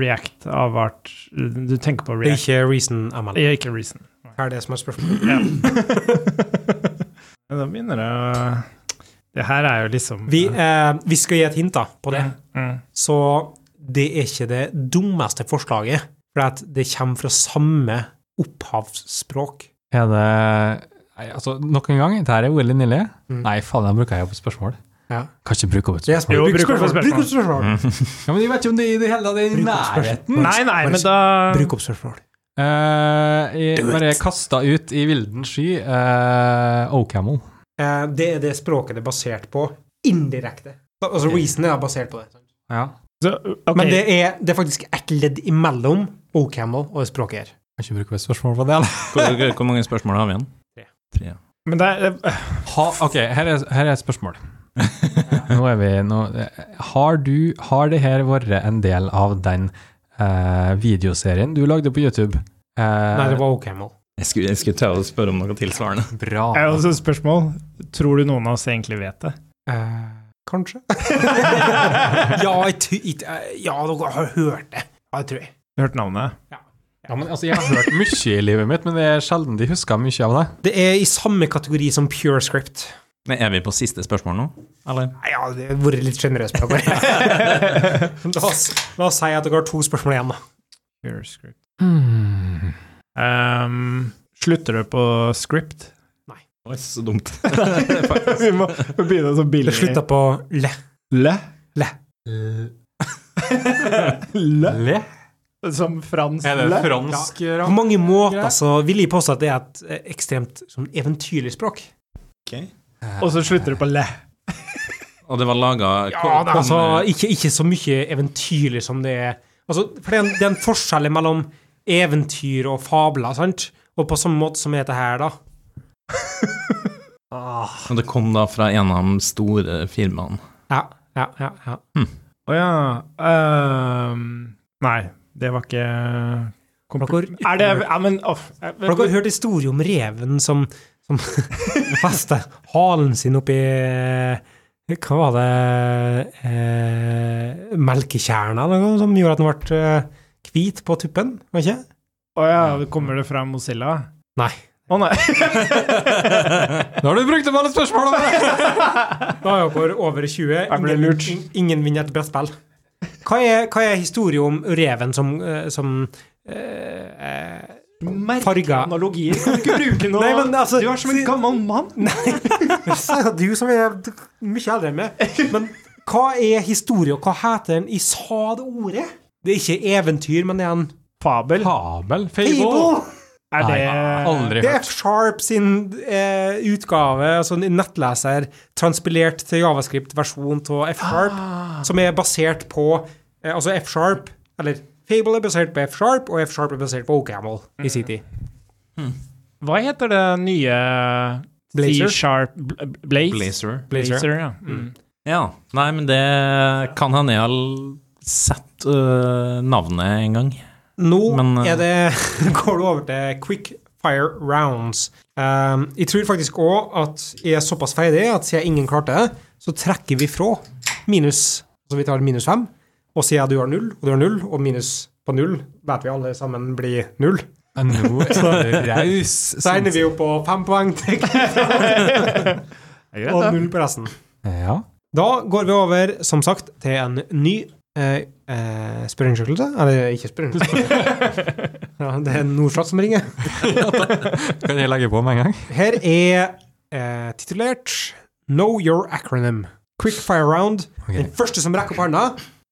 React avart Du tenker på
Det er
React?
ikke reason, Amal.
Ikke, ikke Reason.
Hva er det som er spørsmålet?
Ja. Men da begynner det å Det her er jo liksom
Vi, eh, vi skal gi et hint da, på det.
Mm.
Så det er ikke det dummeste forslaget, for at det kommer fra samme opphavsspråk.
Er det nei, altså, Nok en gang, dette her er Willy Nille.
Mm.
Nei, faen, den bruker jeg opp et spørsmål.
Ja.
Kan ikke bruke opp et
Det er
spørsmål.
Jo,
spørsmål.
bruk opp spørsmål.
Bruk opp spørsmål.
Ja, men jeg vet ikke om det i det hele tatt er i
Bruk opp spørsmål.
nærheten.
Nei, nei, men da
Bruk opp spørsmål.
Eh, jeg
Do
bare
it.
kasta ut i vilden sky uh, O'Camel.
Eh, det er det språket det er basert på, indirekte. Altså reason er basert på det. sant?
Ja.
så, ok.
Men det er, det er faktisk ett ledd imellom O'Camel og språket her.
Kan ikke bruke opp et spørsmål på det. eller?
hvor, hvor- hvor mange spørsmål har vi igjen?
Tre.
Tre.
Men det er,
Ha, ok, her er, her er et spørsmål. [laughs] Nå er vi, nå, eh, har, du, har det her vært en del av den eh, videoserien du lagde på YouTube? Eh,
Nei, det var O'Camel.
Jeg skulle, jeg skulle til å spørre om noe tilsvarende.
Bra.
altså-
er jo også et spørsmål. Tror du noen av oss egentlig vet det?
Eh, kanskje? [laughs] ja, jeg, ty- jeg, ja, dere har hørt det. Ja, det tror jeg.
Hørt navnet?
Ja, men, altså, jeg har hørt mye i livet mitt, men det er sjelden de husker mye av det.
Det er i samme kategori som Pure Script.
Nei, er vi på siste spørsmål nå? Eller?
Nei, Ja, det har vært litt sjenerøst. men jeg bare- [laughs] la, oss- la oss si at dere har to spørsmål igjen, da.
[laughs] Pure
Hmm.
script. Um, slutter du på script?
Nei.
Oi, så dumt.
[laughs] Vi må begynne så
Det
billig.
slutta på le.
Le.
Le.
[laughs] Le.
Le?
Som fransk
Er det
le.
fransk ja.
På mange måter så vil jeg påstå at det er et eh, ekstremt sånn, eventyrlig språk.
Og så slutter det på le.
Og det var laga
Ja, da, altså, ikke, ikke så mye eventyrlig som det er. Altså, for det er, en, det er en forskjell mellom eventyr og fabler, sant? Og på samme måte som heter [laughs] her, da. Ah.
Og det kom da fra en av de store firmaene.
Ja, ja, ja. ja.
Å ja. ehm, nei, det var ikke
Har
kompl-
dere-
Er det ja, men, åh, jeg-
For dere har hørt historier om reven som, som [laughs] fester halen sin oppi eh, Hva var det eh, Melkekjerna, eller noe, som gjorde at den ble eh, hvit på tuppen? Var ikke?
Å ja, kommer det fra Mozilla?
Nei.
Å nei.
Nå har du brukt opp alle spørsmålene!
Da er dere over 20.
Jeg ble
Ingen,
lurt.
in- ingen vinner et brettspill. Hva er, hva er historien om reven som, eh, som eh, eh, Farga.
analogier. Kan du ikke bruke noe
Nei, men altså-
Du er som en gammel mann.
Du som er mye eldre enn meg. Men hva er historie, og hva heter den? Jeg sa det ordet. Det er ikke eventyr, men det er en
Fabel.
Fabel? Fable?
fable.
Er
Nei,
det
aldri
Det er
hørt.
F-Sharp sin eh, utgave, altså en nettleser, transpilert til javascript-versjon av F-Sharp, som er basert på eh, Altså F-Sharp, eller Fable er basert på F-Sharp, og F-Sharp er basert på OCamel i sin tid.
Hva heter det nye
Blazer?
C-sharp bl- Blaze?
Blazer.
Blazer.
Blazer, ja. Mm.
Ja. Nei, men det kan hende jeg har sett øh, navnet en gang.
Nå
Men, eh,
er det, [laughs] går det over til quick fire rounds. Ehm, jeg tror faktisk òg at jeg er såpass ferdig at siden ingen klarte det, så trekker vi fra minus Så vi tar minus fem, og siden du har null, og du har null, og minus på null, vet vi alle sammen blir null.
Men
[laughs]
Nå er du
Så
raus.
Sånn.
ender vi jo på fem poeng til,
[laughs]
og null på resten.
Ja.
Da går vi over, som sagt, til en ny eh, eh, spørreundersøkelse. Eller ikke spørreundersøkelse.
[laughs]
ja, det er Norsat som ringer.
Kan jeg legge på med en gang?
Her er eh, titulert Know Your Acronym. Quick fire round.
Ok.
Den første som rekker opp hånda,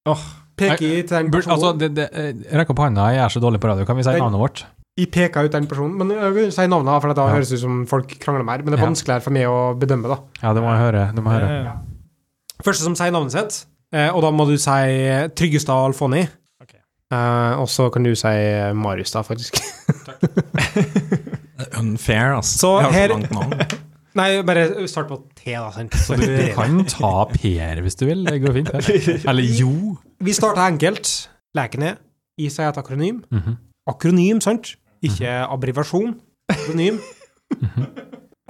Åh.
peker jeg til den
Bur-
personen.
altså, det, det, eh, Rekk opp handa, jeg er så dårlig på radio. Kan vi si
Nei.
navnet vårt?
jeg peker ut den personen, men jeg vil si navnet, da, for da
Ja.
høres det ut som folk krangler mer. Men det er
Ja.
vanskeligere for meg å bedømme, da.
Ja, det må jeg høre. Det må jeg høre.
Eh, Ja.
Første som sier navnet sitt, eh, og da må du si eh, Tryggestad Alfoni.
Ok.
Eh, og så kan du si eh, Marius, da, faktisk. [laughs]
Unfair, altså.
Så
Jeg har
her-
så langt
[laughs]
navn.
Nei, bare start på T, da. sant?
Så
[laughs]
du kan ta Per hvis du vil. Det går fint. det. Eller Jo.
Vi starter enkelt. Leken er I sier et akronym.
Mhm.
akronym, sant? Ikke abrivasjon. Akronym.
Mhm.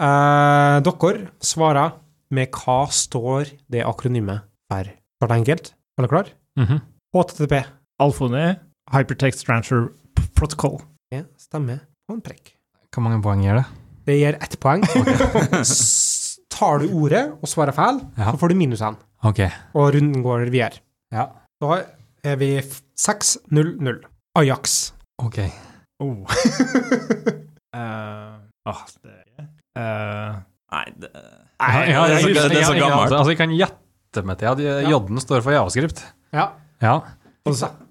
eh, dere svarer med hva står det akronymet for. Klart enkelt? Alle klar?
Mhm.
HTTP.
Alfoni, Hypertext Transfer P- Protocol.
Det stemmer på en prekk.
Hvor mange poeng gir det?
Det gir ett poeng. [laughs] S- Tar du ordet og svarer feil,
Ja.
så får du minus én.
Ok.
Og runden går videre.
Ja.
Da er vi f- 6-0-0.
[laughs]
Ajax.
Ok.
Oh. Eh, ah, det eh,
Nei, det
Ja,
ja, det er så- det er så
jeg- jeg-
gammelt.
Altså, jeg kan gjette meg til at
Ja.
J-en står for javascript.
Ja.
Ja.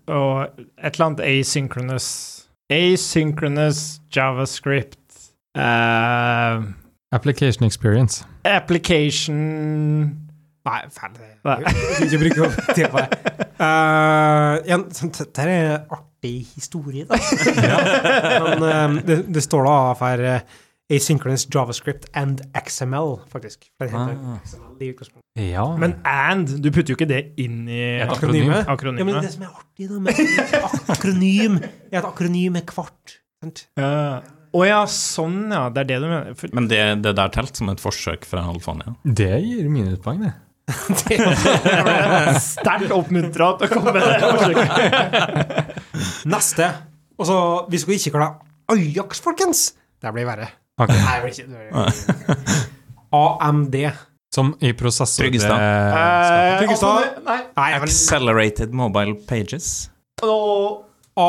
Og et eller annet asynchronous Asynchronous javascript eh,
Application experience.
Application
Nei, ferdig.
Nei.
Jeg vil [laughs] ikke bruke opp tid på det. Eh, en, sånn, dette er en artig historie, da. Men eh, det, det står da for eh, Asynchronous JavaScript and XML, faktisk. For Det heter
Ah.
XML i utgangspunktet.
Ja.
Men and Du putter jo ikke det inn i
Et
Akronyme. Ja, men
akronymet.
det som er artig da, med akronym, er at akronym er kvart. sant?
Eh, Å ja, sånn, ja. Det er det du mener. For,
Men det, det der telt som et forsøk fra Alfania?
Det gir minuspoeng, det.
Det er-
jeg ble sterkt oppmuntra til å komme med det. forsøket.
Neste. Og så, hvis dere ikke klarer Ajax, folkens, det blir verre.
Ok.
Nei, det blir ikke det blir- AMD.
Som i prosessor
Tryggestad.
Eh,
Eh,
Tryggestad.
Alfoni- Nei.
Nei, vel,
Accelerated Mobile Pages.
Åh.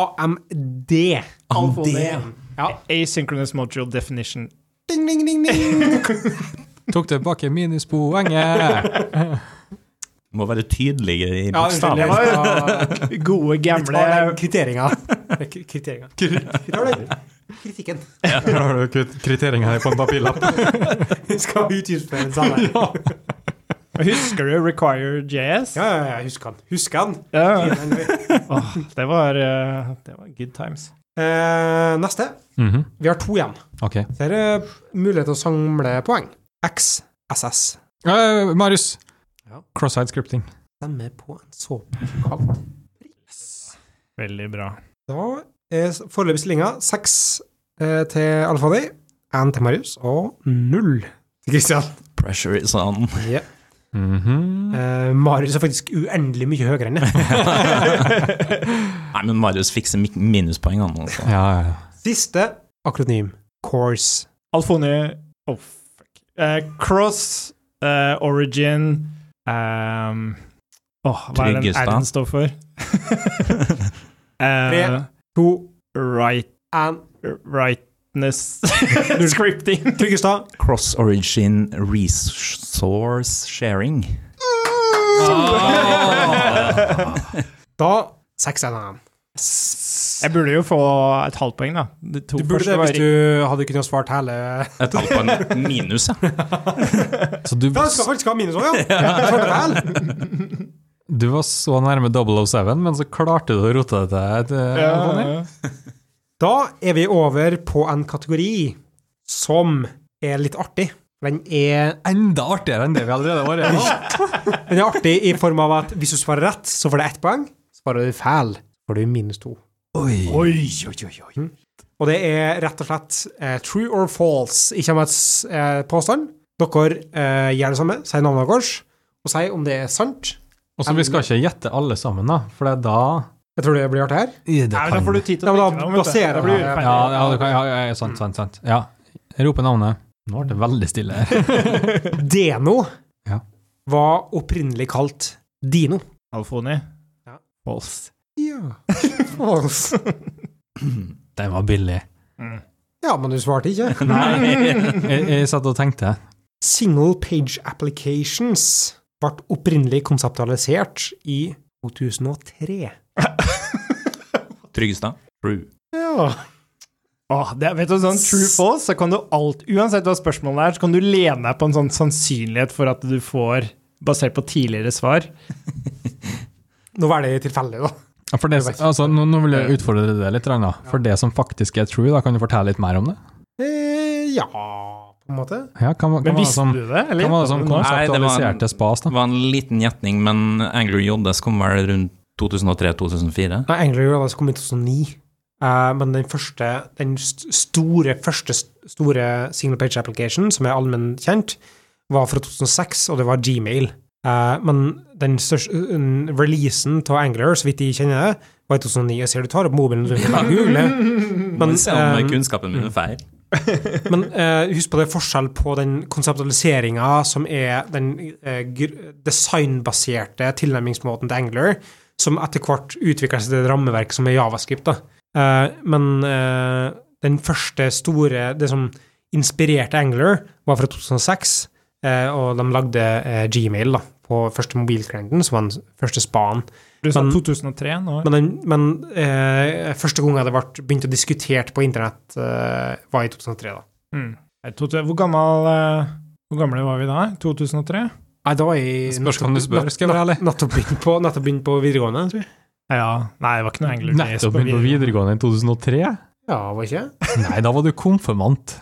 AMD.
AMD.
Ja.
Asynchronous module definition
Ding, ding, ding, ding.
Tok tilbake minuspoenget!
Må være tydeligere i
Ja,
bokstaven.
unnskyld, jeg skal-
Gode, gamle
Ta den kvitteringa. [laughs] Det er kri- Kvitteringa. Vi tar den Kritikken.
Her har du kriteringa her på en papirlapp.
Vi [laughs] skal utgiftsføre den [laughs] samme.
Husker du Require JS?
Ja, ja, ja, husk han. Husk han.
Ja. Åh, det, var, eh, det var good times.
Eh, neste.
Mhm,
Vi har to igjen.
Ok.
Så her er mulighet til å samle poeng. X, SS.
Eh, Marius!
Ja.
Cross-side scripting.
Stemme på en såpekall.
Veldig bra.
Da er foreløpig stillinga seks eh, til Alfadi, én til Marius og null til Christian.
Pressure is on.
Ja.
Mhm.
Eh, Marius er faktisk uendelig mye høyere enn det. [laughs]
Nei, men Marius fikser mi- minuspoeng, han. Altså.
Ja, ja, ja.
Siste akronym. Course.
Alfoni oh, fuck. Eh, Cross, eh, Origin ehm, åh, Hva er den
Tryggestad.
R-en står for? Eh,
To,
right,
én
rightness [laughs] Scripting.
Tryggestad.
Cross origin resource sharing. Ah.
Da seks en annen.
Jeg burde jo få et halvt poeng, da. De to
Du burde
første
det
var
hvis du hadde kunnet svart hele
Et tall på en minus, ja.
Så du,
Ja, du skal faktisk ha minus [laughs] òg, ja! Svarte det hele.
du var så nærme 007, men så klarte du å rote det til. et, eh,
Ja,
Ronny.
ja.
Da er vi over på en kategori som er litt artig. Den er,
Enda artigere enn det vi allerede
[laughs]
var. Ja.
den er artig i form av at hvis du svarer rett, så får du ett poeng. Svarer du feil, får du minus to. Hm?
Oi, oi, oi, oi.
Og det er rett og slett eh, true or false. Ikke med eh, påstand. Dere eh, gjør det samme, sier navnet deres, og sier om det er sant.
Og så Vi skal ikke gjette alle sammen, da, for det er da
Jeg tror det blir artig [laughs] her.
Nei, men da får du tid til å
Ja, men da
tenke deg om. vet du.
baserer
Da blir
jeg-
det
Ja,
ferdig.
ja, du kan, ja, ja, ja, sant, sant, sant. Ja. Jeg roper navnet. Nå ble det veldig stille [laughs] her.
Deno
Ja.
var opprinnelig kalt Dino.
[laughs] Alfoni.
Ja.
False.
Ja. [laughs] false.
Den var billig.
Ja, men du svarte ikke.
Jeg, jeg satt og tenkte.
Single Page Applications ble opprinnelig konseptualisert i 2003.
Tryggestad. True.
Ja.
Åh, det, vet du, sånn true false, så kan du alt, uansett hva spørsmålet er, så kan du lene deg på en sånn sannsynlighet for at du får, basert på tidligere svar.
Nå var det tilfeldig, da.
Ja, For det, altså, nå, nå vil jeg utfordre deg litt, Ragna. For det som faktisk er true, da, kan du fortelle litt mer om det?
Eh, ja, på en måte.
Ja, hva, hva,
Men
var det
visste
sånn-
som,
du det?
hva var det som
Nei,
Nå?
det var en-
konseptualiserte spas,
Det
da?
var en liten gjetning, men Angler Joddes kom vel rundt 2003-2004?
Nei, Angler Girls kom i 2009. Eh, men den første, den st- store, første st- store single page application, som er allmenn kjent, var fra 2006, og det var Gmail. Eh, men den største uh, releasen av Angler, så vidt de kjenner det, var i 2009. Jeg ser du tar opp mobilen du kan google.
Men se
eh,
om
ehm,
kunnskapen min er feil.
Men eh, husk på det er forskjell på den konseptualiseringa som er den eh, gr- designbaserte tilnærmingsmåten til Angler, som etter hvert utvikler seg til et rammeverk som er javascript. Da. Eh, men eh, den første store Det som inspirerte Angler, var fra 2006, eh, og de lagde eh, Gmail da, på første mobilklienten, som var den første spaden.
Du sa
Men-
2003 nå.
Men, den, men eh, første gangen det ble begynt å diskutert på internett, eh, var i 2003. da.
Mm. Jeg tror- Hvor gammel eh, hvor gamle var vi da? 2003?
Nei, da er jeg
Spørs hvem du spør, skal jeg være ærlig.
Nettopp begynt på, nettopp begynt på videregående, tror jeg.
Ja. Nei, det var ikke noe Angler Days
Nettopp begynte på videregående i 2003?
Ja, var ikke?
Nei, da var du konfirmant.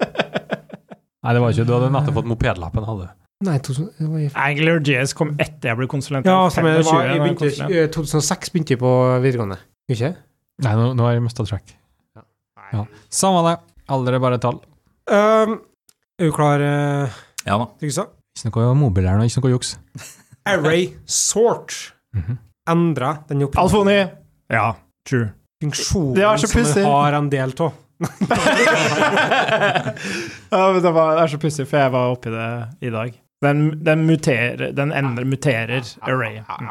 Nei, det var ikke du hadde nettopp fått mopedlappen, hadde du.
Nei, 2000, det var i...
[laughs] Angler JS kom etter jeg ble konsulent.
Ja,
Jeg var
som jeg,
25
var, jeg
da jeg
begynte,
konsulent.
eh, 2006 begynte jeg på videregående. Ikke?
Nei, nå, nå har jeg mista track. Ja. Samme det. Alder er bare et tall.
Um, er du klar, eh,
Ja da.
Tryggestad?
Ikke noe mobil her nå, ikke noe juks.
Array sort
Mhm.
endra den opp-
Alfoni! Ja, true. Det var
funksjonen
så
som
pussig.
den har en del av.
[laughs] ja, men det, var, det er så pussig, for jeg var oppi det i dag. Den, den muterer, den endrer, muterer arrayet. Mm.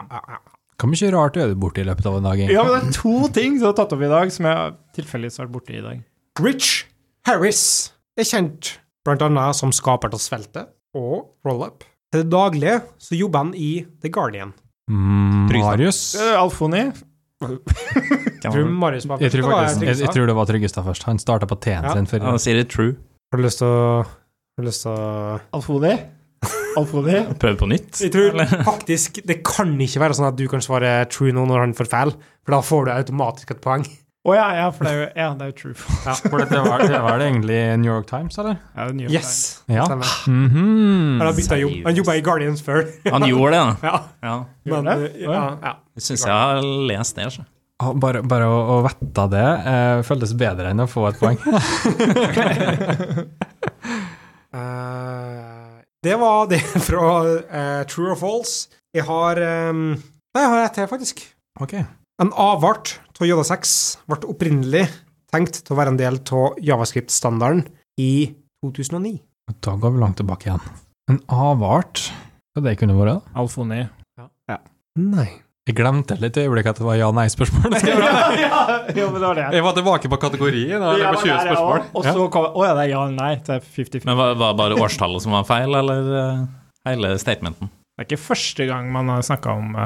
Hvor mye rart er du borti i løpet av en dag? egentlig?
Ja, men det er to ting som er tatt opp i dag, som jeg tilfeldigvis har vært borti i dag.
Rich Harris er kjent blant annet som skaper til svelte og roll-up. Til det daglige så jobber han i The Guardian.
Mm,
Trygstad.
Marius?
Eh, Alfoni.
Jeg tror Marius var
Jeg tror,
Da var
faktisk, jeg,
Trygstad.
jeg tror det var Tryggestad først. Han starta på T-en
Ja.
sin før.
Han sier det true.
Har du lyst til å har du lyst til å
Alfoni. Alfoni.
Prøv på nytt.
Jeg tror [laughs] faktisk det kan ikke være sånn at du kan svare true nå når han får feil, for da får du automatisk et poeng.
Å ja, ja, for det er jo, ja, det er jo true.
Ja.
For det var, det var det egentlig New York Times, eller?
Ja, det er New York
Yes.
Times.
Ja.
Stemmer.
Mhm.
Han har bytta jobb. Han jobba i Guardians før. [laughs]
Han gjorde det, da.
Ja.
Ja.
Men,
Gjorde
eh, ja, ja.
Jeg syns jeg har lest det. altså. Så.
Å, Bare, bare å, å vette det eh, føltes bedre enn å få et poeng.
Eh, det var det [laughs] fra eh, True or False. Jeg har eh, Nei, jeg har ett til, faktisk.
[laughs] Ok.
En avart av Yoda 6 ble opprinnelig tenkt til å være en del av Javascript-standarden i 2009.
Da går vi langt tilbake igjen. En avart? Hva det kunne vært? da?
Alfoni.
Nei.
Jeg glemte litt i øyeblikket at det var ja-nei-spørsmål.
[laughs] ja, ja, jo, men det var det.
Jeg var tilbake på kategorien.
Ja, men der, ja, Og så kom Å ja, det er ja eller nei. Det er 50-50.
Men var, var bare årstallet som var feil, eller eh, hele statementen?
Det er ikke første gang man har snakka om uh,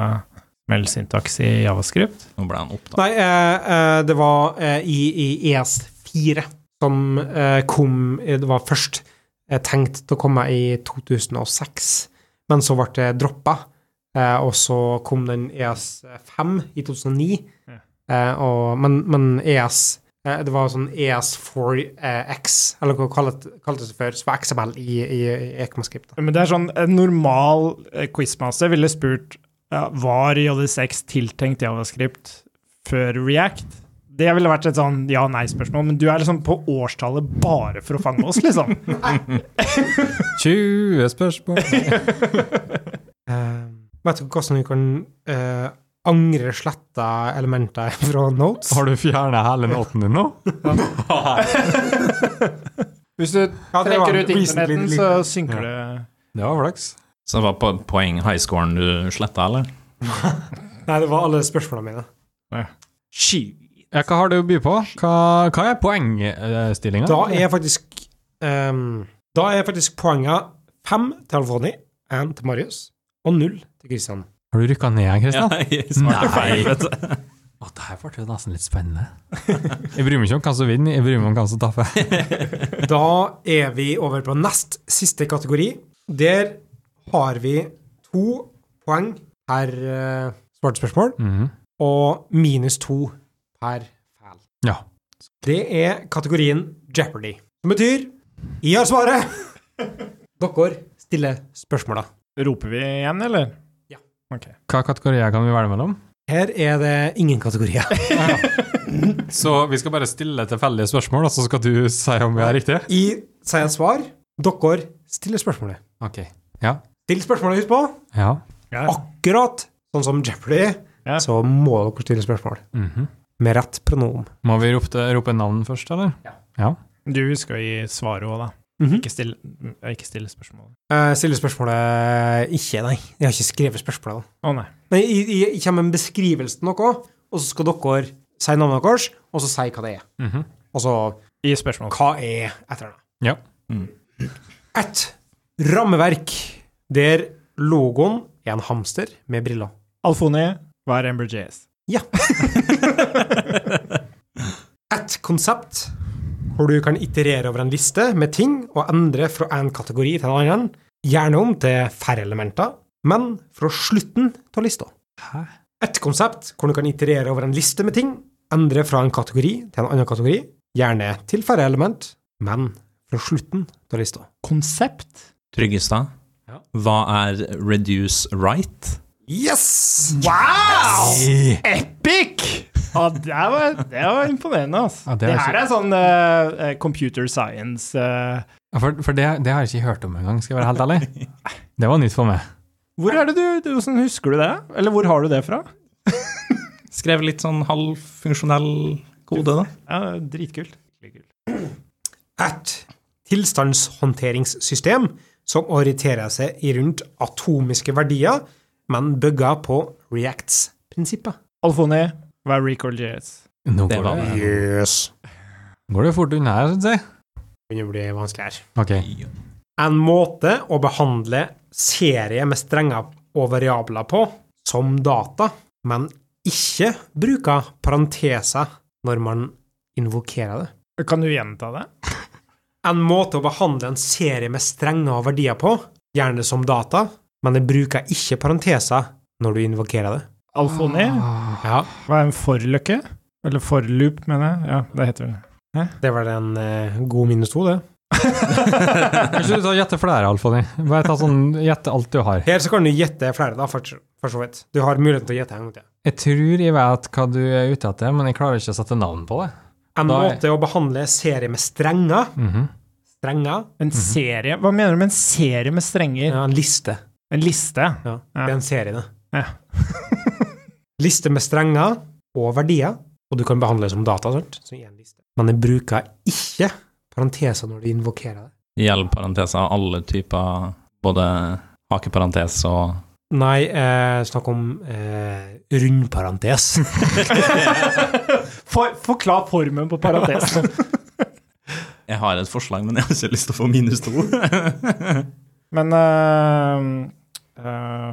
meldsyntax i javascript.
Nå ble han opptatt.
Nei, eh, eh, det var eh, i, i ES4 som eh, kom eh, Det var først eh, tenkt til å komme i 2006, men så ble det droppa. Eh, og så kom den ES5 i 2009.
Ja.
Eh, og, men, men ES eh, Det var sånn ES4X, eller hva kallet- kaltes det før, som var XML i, i, i E ECMAScript. da.
Men det er sånn En normal eh, quizmaster ville spurt ja, var JD6 tiltenkt javascript før React. Det ville vært et sånn ja-nei-spørsmål, men du er liksom på årstallet bare for å fange oss, liksom.
20 spørsmål.
Eh, vet du hvordan du kan eh, angre sletta elementer [laughs] fra notes?
[laughs] Har du fjerna hele noten din nå?
[laughs] Hvis du
Ja, det var
trekker ut
recently
internetten, så
deleted.
synker det
Det var flaks.
Så det var på poeng highscoren du sletta, eller?
Nei, det var alle spørsmålene mine.
Sky.
Ja, hva har du å by på? Hva, hva er poengstillinga?
Da er faktisk ehm, Da er faktisk poenget fem til Alfoni, én til Marius og null til Christian.
Har du rykka ned,
[laughs]
Kristian?
jeg svarte feil, vet du.
Å, det her ble jo nesten litt spennende. [laughs] Jeg bryr meg ikke om hvem som vinner, jeg bryr meg om hvem som taper. [laughs]
Da er vi over på nest siste kategori. Der har vi to poeng per eh, svarte spørsmål
Mhm.
og minus to per feil.
Ja.
Det er kategorien Jeopardy. Som betyr jeg har svaret! [laughs] Dere stiller spørsmåla.
Roper vi igjen, eller?
Ja.
Ok.
Hva kategorier kan vi velge mellom?
Her er det ingen kategorier. [laughs]
Så vi skal bare stille tilfeldige spørsmål, og så skal du si om vi har riktig?
Jeg sier et svar. Dere stiller spørsmålet.
Ok. Ja.
Still spørsmålet utpå.
Ja.
Ja.
Akkurat sånn som Jeopardy,
Ja.
så må dere stille spørsmål.
Mhm.
Med rett pronom.
Må vi rope, rope navn først, eller?
Du skal gi svaret òg, da. Ikke stille, ikke stille spørsmål.
Eh, stille spørsmålet ikke, nei. Jeg har ikke skrevet spørsmålet. da.
Å nei.
Men jeg, jeg, jeg kommer med en beskrivelse til noe, og så skal dere si navnet deres, og så si hva det er.
Mhm.
Altså
Gi spørsmål.
hva er etternavnet?
Ja.
Et rammeverk der logoen er en hamster med briller.
Alfoni, hva er Ember JS?
Et konsept hvor du kan iterere over en liste med ting og endre fra en kategori til en annen, gjerne om til færre elementer, men fra slutten av lista.
Hæ?
Et konsept hvor du kan iterere over en liste med ting, endre fra en kategori til en annen kategori, gjerne til færre element, men fra slutten av lista.
Konsept?
Tryggestad,
Ja.
hva er reduce right?
Yes!
Wow!
Nei.
Epic! Ja, det var, det var imponerende, altså.
Ja, det
det,
er
her er sånn eh, eh, computer science eh.
Ja, For, for det, det har jeg ikke hørt om engang, skal jeg være helt ærlig. Det var nytt for meg.
Hvor er det du, du hvordan Husker du det? Eller hvor har du det fra?
Skrev litt sånn halvfunksjonell kode, da.
Ja, Dritkult.
Et tilstandshåndteringssystem som orienterer seg i rundt atomiske verdier, men bygger på Reacts-prinsippet.
Alfoni, hva er Recall JS?
Nå
Det
går
var
det,
Yes.
går det fort unna her, syns jeg.
begynner å bli vanskelig her.
OK.
En måte å behandle serie med strenger og variabler på, som data, men ikke bruke parenteser når man invokerer det.
Kan du gjenta det?
En måte å behandle en serie med strenger og verdier på, gjerne som data, men det bruker ikke parenteser når du invokerer det.
Alfoni?
Ah.
Ja,
Hva er en forløkke? Eller forloop, mener jeg. Ja, det heter vel det.
det var en eh, god minus to, det.
Kan [laughs] ikke du ta og gjette flere, Alfoni? Bare ta sånn, gjette alt du har.
Her så kan du gjette flere, da, for, for så vidt. Du har muligheten til å gjette en gang til.
Jeg tror jeg vet hva du er ute etter, men jeg klarer ikke å sette navn på det.
En
Da er-
måte å behandle serie med strenger
Mhm.
Strenger?
En serie? Hva mener du med en serie med strenger?
Ja, en liste.
En
[laughs]
liste?
Ja,
Ja.
Det er en serie, det.
Ja.
[laughs] liste med strenger og verdier, og du kan behandle det som data, sant? Som en liste. Men den bruker ikke parenteser når du invokerer det.
Gjelder parenteser av alle typer, både hakeparentes og
Nei, eh, snakk om eh, rundparentes. [laughs]
For, forklar formen på paratesen.
Jeg har et forslag, men jeg har ikke lyst til å få minus to.
Men eh, eh,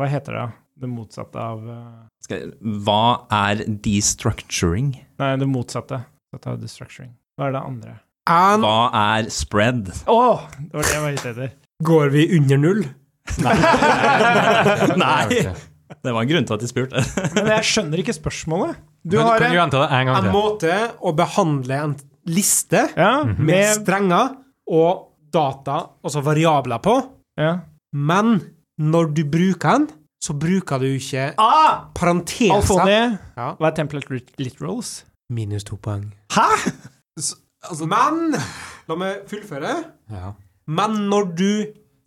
hva heter det? Det motsatte av eh,
[laughs] Skal jeg- Hva er destructuring?
Nei, det motsatte. Dette er destructuring. Hva er det andre?
En,
Hva er spread?
Å! det var det jeg var
[laughs]
ute etter.
går vi under null?
Nei!
Det er jo ikke.
Det var en grunn til at jeg spurte.
[laughs] Men jeg skjønner ikke spørsmålet. Du
Men
har
kan
en
du gjenta det en gang
En
til?
måte å behandle en liste
Ja,
med
med
strenger og data, altså variabler på,
ja.
men når du bruker den, så bruker du ikke
Ah!
parenteser.
Alfoni.
Ja.
Hva er template lit- literals?
Minus to poeng.
Hæ?!
Altså, Men La meg fullføre.
Ja.
Men når du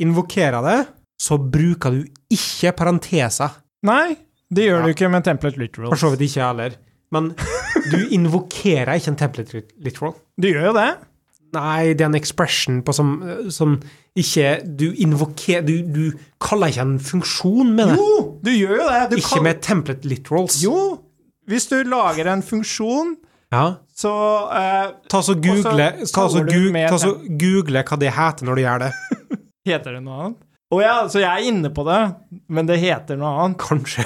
invokerer det, så bruker du ikke parenteser.
Nei, det gjør
Ja.
du ikke med template literals.
For så vidt ikke jeg heller. Men du invokerer ikke en template lit- literal.
Du gjør jo det.
Nei, det er en expression på som, som ikke Du invokerer du, du kaller ikke en funksjon med det.
Jo, du gjør jo det. Du
ikke
kan-
med template literals.
Jo, hvis du lager en funksjon,
Ja.
så eh,
Ta så google,
Og så
ta så
kaller du
gu-
med
ta så google hva det heter når du gjør det.
Heter det noe annet? Å ja, så jeg er inne på det, men det heter noe annet.
Kanskje.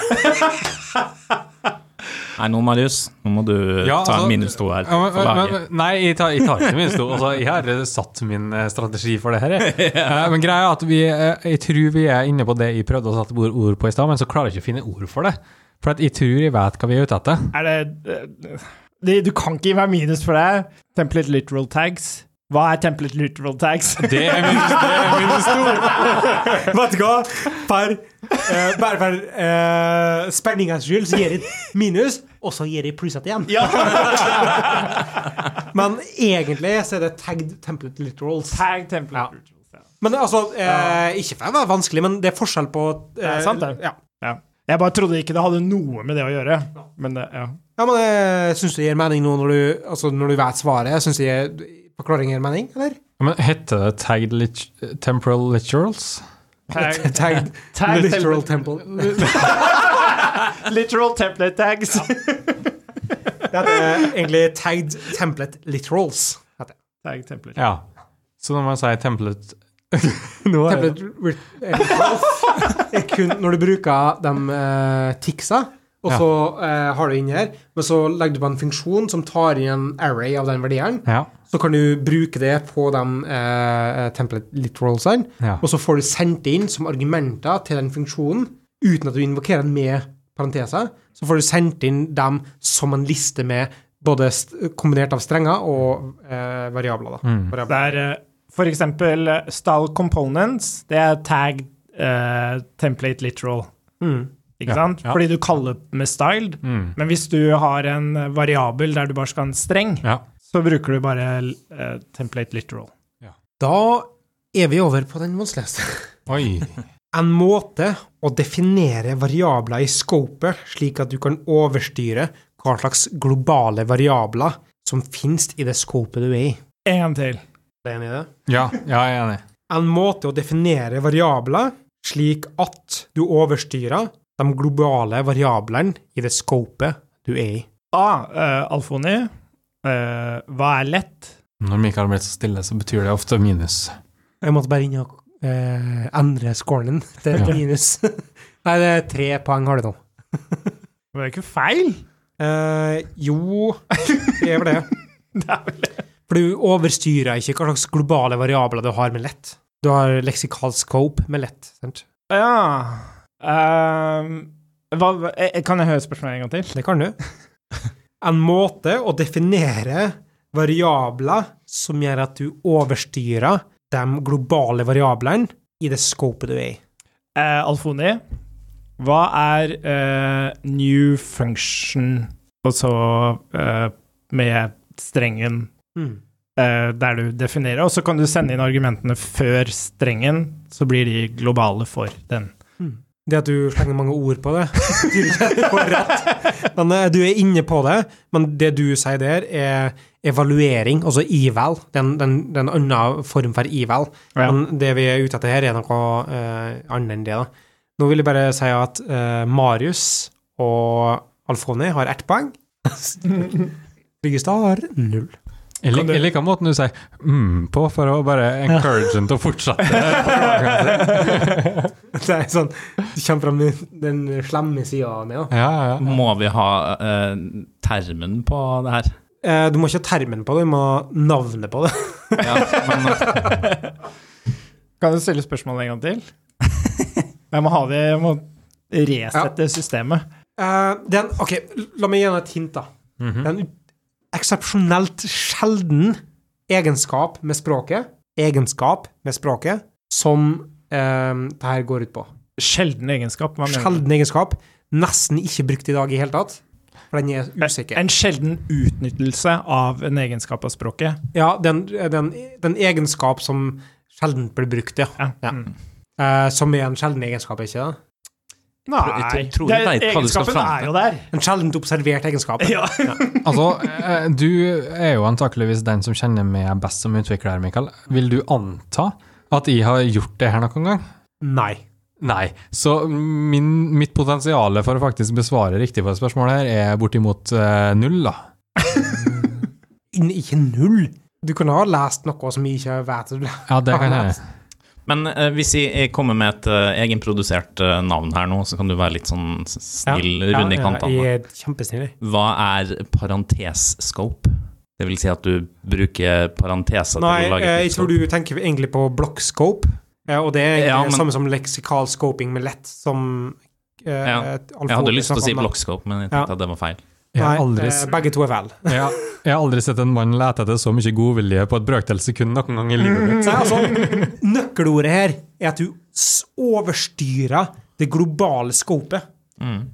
Nei, nå, Marius, nå må du
Ja,
ta
altså-
en minus to her.
Ja, men,
for
men,
laget.
men, nei, jeg tar, jeg tar ikke minst to. Altså, jeg har eh, satt min eh, strategi for det her. jeg. Eh, Men greia er at vi, eh, jeg tror vi er inne på det jeg prøvde å sette ord- ord på i stad, men så klarer jeg ikke å finne ord for det. For at jeg tror jeg vet hva vi er ute etter.
Er det, eh, det Du kan ikke gi meg minus for det. Template literal tags. Hva er template literal [laughs] tags?
Det er minus, det er minus to.
[laughs] Vet du hva? Per, eh, bare for eh, spenningens skyld så gir jeg minus, og så gir jeg plussete igjen. Men egentlig så er det tagged template literals.
Tag template literals. Ja.
Men altså, eh, ikke for å være vanskelig, men det er forskjell på eh,
Det er sant, det.
Ja.
Ja. Jeg bare trodde ikke det hadde noe med det å gjøre. Men det, ja.
ja, men jeg syns det gir mening nå når du, altså, når du vet svaret. Jeg synes det gir forklaring gir mening, eller?
Men heter det tagged lit temporal literals?
[laughs] Tag,
[laughs] Tagged
tag
literal
template,
temple.
literal template tags.
Det heter egentlig tagged template literals. Heter. det.
Tag template.
Ja. Så når man sier template Nå er det
Template rit- eh, [laughs] literals er kun når du bruker de eh, ticsa, og
Ja.
så eh, har du inn her, men så legger du på en funksjon som tar inn en array av den verdien.
Ja.
Så kan du bruke det på de eh, template literalsene,
ja.
og så får du sendt det inn som argumenter til den funksjonen, uten at du invokerer den med parenteser. Så får du sendt inn dem som en liste med både st kombinert av strenger og eh, variabler. Da.
Mm.
Variabler.
Det er eh, for eksempel eh, style components, det er tag eh, template literal,
Mm.
Ja,
ikke sant?
ja.
Fordi du kaller det med styled,
Mm.
men hvis du har en eh, variabel der du bare skal ha en streng,
ja.
så bruker du bare eh, template literal.
Da er vi over på den vanskeligste.
Oi.
En måte å definere variabler i scopet, slik at du kan overstyre hva slags globale variabler som finnes i det scopet du er i.
En til.
Er du enig i det?
Ja, ja jeg er enig.
En måte å definere variabler slik at du overstyrer de globale variablene i det scopet du er i.
A, eh, Alfoni, eh, hva er lett?
Når Mikael blir så stille, så betyr det ofte minus.
Jeg måtte bare inn og eh, endre scoren din til et
Ja.
minus. [laughs] Nei, det er tre poeng har du nå.
Det var jo ikke feil!
Eh, jo, det er vel [laughs] det.
Det er vel
For du overstyrer ikke hva slags globale variabler du har med lett. Du har leksikal scope med lett. sant?
Ja Ehm, hva, eh, Kan jeg høre spørsmålet en gang til?
Det kan du. En måte å definere variabler som gjør at du overstyrer de globale variablene i det scopet du er i.
Eh, Alfoni, hva er eh, new function, og så eh, med strengen
Hmm.
eh, der du definerer, og så kan du sende inn argumentene før strengen, så blir de globale for
[laughs]
den.
Det at du slenger mange ord på det, betyr ikke at du får
[laughs]
rett. Men eh, du er inne på det, men det du sier der, er evaluering, altså eval. Det er en- det er en det er en annen form for eval.
Ja.
Men det vi er ute etter her, er noe eh, annet enn det. da. Nå vil jeg bare si at eh, Marius og Alfoni har ett poeng. Byggestad har null.
Jeg,
Kan
lik,
du-
jeg liker måten du sier mm på, for å bare encourage ham til å fortsette.
[laughs] Det er sånn, Du kommer fram med den slemme sida av meg. da.
Ja, [laughs] ja, ja.
Må vi ha eh, termen på det her?
Eh, du må ikke ha termen på det, du må ha navnet på det.
[laughs] Ja, men,
Kan du stille spørsmålet en gang til?
[laughs]
Jeg må ha det, jeg må resette systemet.
Eh, det er en, ok, La meg gi deg et hint. da.
Mhm.
Det er en ut- eksepsjonelt sjelden egenskap med språket, egenskap med språket, som eh, det her går ut på.
Sjelden egenskap. Hva mener du?
Sjelden egenskap. Nesten ikke brukt i dag i hele tatt. For den er usikker.
Eh, En sjelden utnyttelse av en egenskap av språket.
Ja, den, den, den egenskap som sjelden blir brukt, ja.
Ja.
Ja.
Mm.
Eh, som er en sjelden egenskap, er ikke det?
Nei,
tror du vet hva du skal
egenskapen
fram
er
til.
jo der.
En sjeldent observert egenskap.
Ja.
Altså, eh, du er jo antakeligvis den som kjenner meg best som utvikler, Mikael. Vil du anta at jeg har gjort det her noen gang?
Nei.
Nei. Så min, mitt potensial for å faktisk besvare riktig på et spørsmål her er bortimot eh, null, da.
Inn- Ikke null. Du kunne ha lest noe som jeg ikke vet at du
Ja, det kan jeg.
men eh, hvis jeg, jeg kommer med et eh, egenprodusert eh, navn her nå, så kan du være litt sånn s- snill rund i kantene.
Jeg er kjempesnill. jeg.
Hva er parentes-scope? Det vil si at du bruker parenteser
Nei,
til å lage
eh,
et
jeg
nytt
tror
scope.
du tenker egentlig på blockscope, eh, og det er egentlig
Ja, men-
det samme som leksikal scoping med lett, som eh,
Ja.
Alf
Jeg hadde
Ove
lyst til å
snakket
si
om, da.
blockscope, men jeg
Ja.
tenkte at det var feil.
Jeg har
Nei,
aldri,
eh, begge to er vel.
jeg, har- jeg har aldri sett en mann lete etter så mye godvilje på et brøkdels sekund noen gang i livet mitt.
Nei, altså, nøkkelordet her er at du s- overstyrer det globale scopet.
Mm.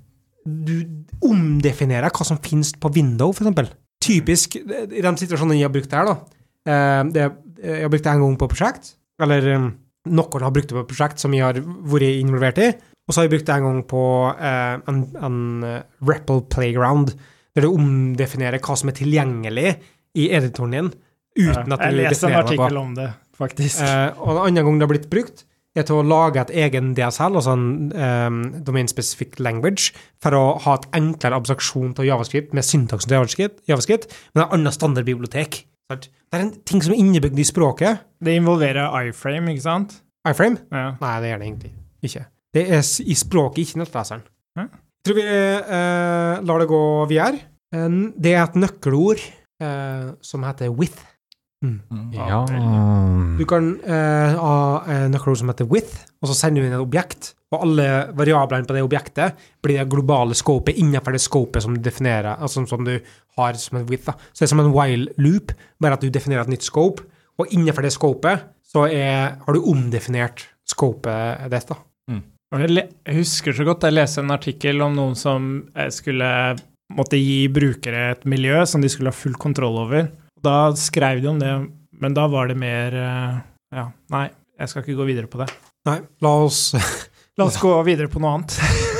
Du omdefinerer hva som finnes på Window, for eksempel. Typisk, i den situasjonen jeg har brukt det her, da. eh, Det, jeg har brukt det en gang på prosjekt, eller eh, noen har brukt det på prosjekt som jeg har vært involvert i, og så har jeg brukt det en gang på eh, en, en eh, REPL Playground, der du omdefinerer hva som er tilgjengelig i editoren din, uten at du
Jeg leste
definerer
en
noe.
artikkel om det, faktisk.
Eh, og en annen gang det har blitt brukt, er til å lage et egen DSL, altså en um, domain-specific language, for å ha et enklere abstraksjon til javascript med syntaksen til javascript, javascript men et annet standardbibliotek. Sant? Det er en ting som er innebygd i språket.
Det involverer iframe, ikke sant?
Iframe?
Ja.
Nei, det gjør det egentlig ikke. Det er s- i språket, ikke nettleseren.
Hæ?
Jeg tror vi eh, lar det gå videre. Eh, Det er et nøkkelord eh, som heter with.
Mm.
Ja.
Du kan eh, ha eh, nøkkelord som heter with, og så sender du inn et objekt, og alle variablene på det objektet blir det globale scopet innenfor det scopet som du definerer, altså som du har som en with. Da. Så det er som en while loop, bare at du definerer et nytt scope, og innenfor det scopet så er, har du omdefinert scopet ditt. da.
Og Jeg le- jeg husker så godt jeg leste en artikkel om noen som eh, skulle måtte gi brukere et miljø som de skulle ha full kontroll over. Da skrev de om det, men da var det mer eh, Ja, nei, jeg skal ikke gå videre på det.
Nei, la oss [laughs]
La oss gå videre på noe
[laughs]
annet.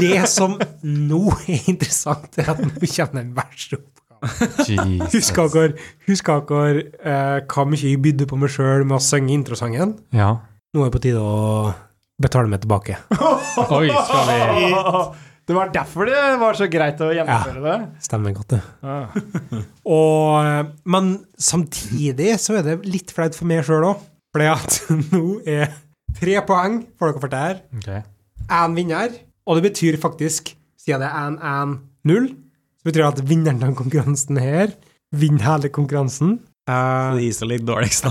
Det som nå er interessant, er at nå kommer den verste oppgaven.
Jesus.
Husker dere, husker dere eh, hva mye jeg bydde på meg sjøl med å synge introsangen?
Ja.
Nå er det på tide å betale meg tilbake.
Oi, skal vi
Shit. Det var derfor det var så greit å gjennomføre det.
Stemmer godt, det.
Ah.
Og, eh, men samtidig så er det litt flaut for meg sjøl òg. Fordi at [laughs] nå er tre poeng for dere for det her.
Ok.
Én vinner. Og det betyr faktisk, siden det er 1-1-0, så betyr det at vinneren av konkurransen her vinner hele konkurransen. Eh, [laughs]
Det viser litt dårligst, da.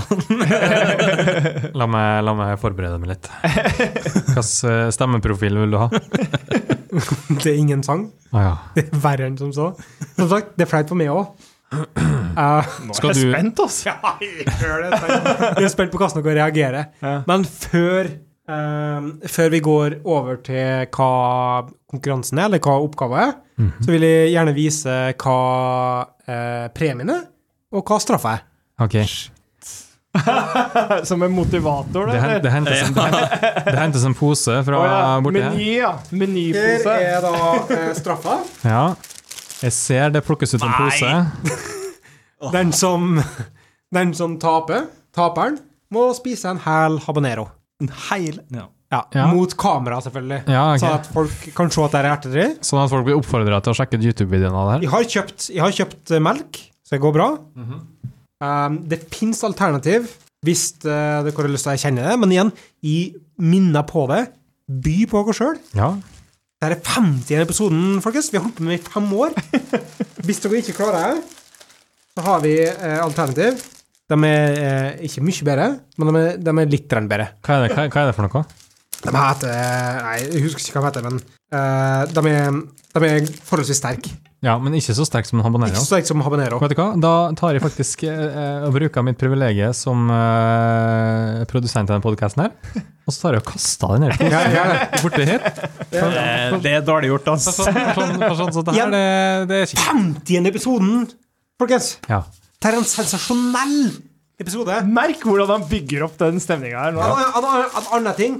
La meg, la meg forberede meg litt. Hvilken eh, stemmeprofil vil du ha?
det er ingen sang.
Ah, ja.
Det er verre enn som så. Som sagt, det er flaut for meg Eh, òg.
Nå
Skal
er jeg
du-
spent, altså.
Ja, jeg gjør det. Vi er spent på hvordan dere reagerer.
Ja.
Men før, eh, før vi går over til hva konkurransen er, eller hva oppgaven er,
Mhm.
så vil jeg gjerne vise hva eh, premien er, og hva straffa er.
Ok.
[laughs] Som en motivator,
Det,
det.
hen-
eller?
det, hentes, en, det, hen- det hentes en pose fra
Å ja,
borti her.
Meny, ja. Menypose.
da eh, straffa.
Ja. Jeg ser det plukkes ut en pose.
[laughs] Den som, den som taper, taperen, må spise en hel habanero.
Ja.
Ja,
Ja.
Mot kamera, selvfølgelig.
Ja, ok.
Sånn at folk kan se at det er erter i.
Sånn at folk blir oppfordra til å sjekke ut YouTube-videoen av det her.
Jeg har kjøpt, jeg har kjøpt eh, melk, så det går bra. um, det fins alternativ hvis eh, dere har lyst til å erkjenne det, men igjen, jeg minner på det. By på dere sjøl.
Ja.
Dette er 50. episoden, folkens. Vi har holdt på med det i fem [laughs] år. Hvis dere ikke klarer det, så har vi eh, alternativ. De er eh, ikke mye bedre, men de er, de er litt grann bedre.
Hva er det, hva, hva er det for noe?
De heter eh, Nei, jeg husker ikke hva de heter, men eh, de, er, de er forholdsvis sterke.
Ja, men ikke så sterk som en
Ikke
habanero.
så sterke som habanero.
Vet du hva? Da tar jeg faktisk eh, og bruker mitt privilegium som eh, produsent av denne podkasten her, og så tar jeg og kaster den her
Ja, ja, ja.
posen borti [laughs] hit.
Eh, Det er dårlig gjort,
For
altså.
Sånn, for sånn, for sånn, så det her, det, det er skikkelig.
50. episoden! Folkens,
Ja.
det er en sensasjonell episode.
Merk hvordan han bygger opp den stemninga her nå.
En annen ting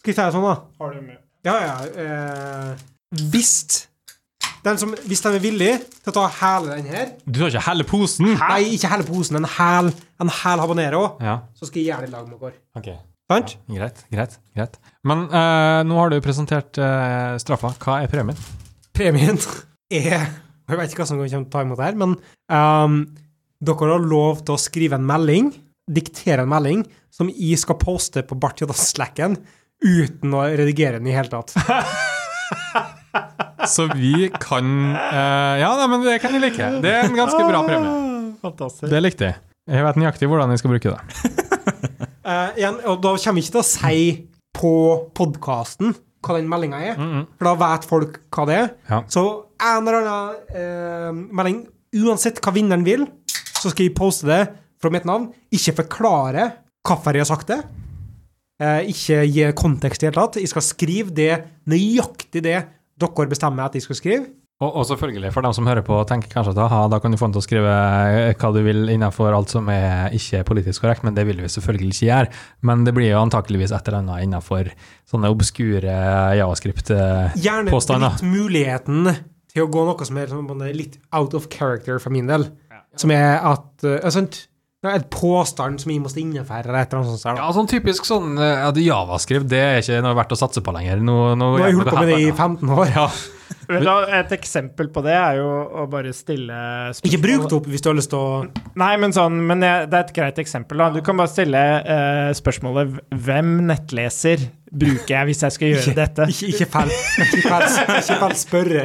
Skal vi si det sånn, da?
Har du med?
Ja, ja. Eh, hvis den som, Hvis de er villig til å ta hele den her
Du tar ikke hele posen?
Nei, ikke hele posen, en hel, en hel habanero,
Ja,
så skal jeg gjøre det i lag med dere.
ok.
Sant?
Greit, greit, greit. Men eh, nå har du presentert eh, straffa. Hva er premien?
Premien [laughs] er Jeg vet ikke hva som kommer til å ta imot her, men ehm, dere har lov til å skrive en melding, diktere en melding, som jeg skal poste på Bartjoda-slacken uten å redigere den i hele tatt.
Så vi kan eh, Ja, nei, men det kan jeg like. Det er en ganske bra premie.
Ah, Fantastisk.
Det likte jeg. Jeg vet nøyaktig hvordan jeg skal bruke det.
Eh, igjen, og da kommer jeg ikke til å si på podkasten hva den meldinga er, for da vet folk hva det er.
Ja.
Så en eller annen eh, melding, uansett hva vinneren vil, så skal jeg poste det fra mitt navn. Ikke forklare hvorfor jeg har sagt det. Eh, ikke gi kontekst i det hele tatt. Jeg skal skrive det nøyaktig det dere bestemmer at jeg skal skrive.
Og, og selvfølgelig, for dem som hører på, tenker kanskje at aha, da kan du få den til å skrive eh, hva du vil innenfor alt som er ikke politisk korrekt, men det vil vi selvfølgelig ikke gjøre. Men det blir jo antakeligvis et eller annet innenfor sånne obskure eh, javascript-påstander.
Gjerne litt muligheten til å gå noe som er sånn litt out of character for min del. Som er at eh, altså, det er et påstand som jeg måtte innefære, eller et eller annet sånt. der, da.
Ja, sånn typisk sånn eh, at javascript, det er ikke noe verdt å satse på lenger. Nå, nå,
Nå har jeg
gjør
holdt
vi
på med det i
her for
15 år.
Ja.
Vet du, hva, et eksempel på det er jo å bare stille spørsmål.
Ikke bruk det opp hvis du har lyst til å
Nei, men, sånn, men jeg, det er et greit eksempel. da. Du kan bare stille eh, spørsmålet Hvem nettleser bruker jeg hvis jeg skal
[laughs]
gjøre dette?
Ikke, ikke feil ikke feil, ikke feil spørre.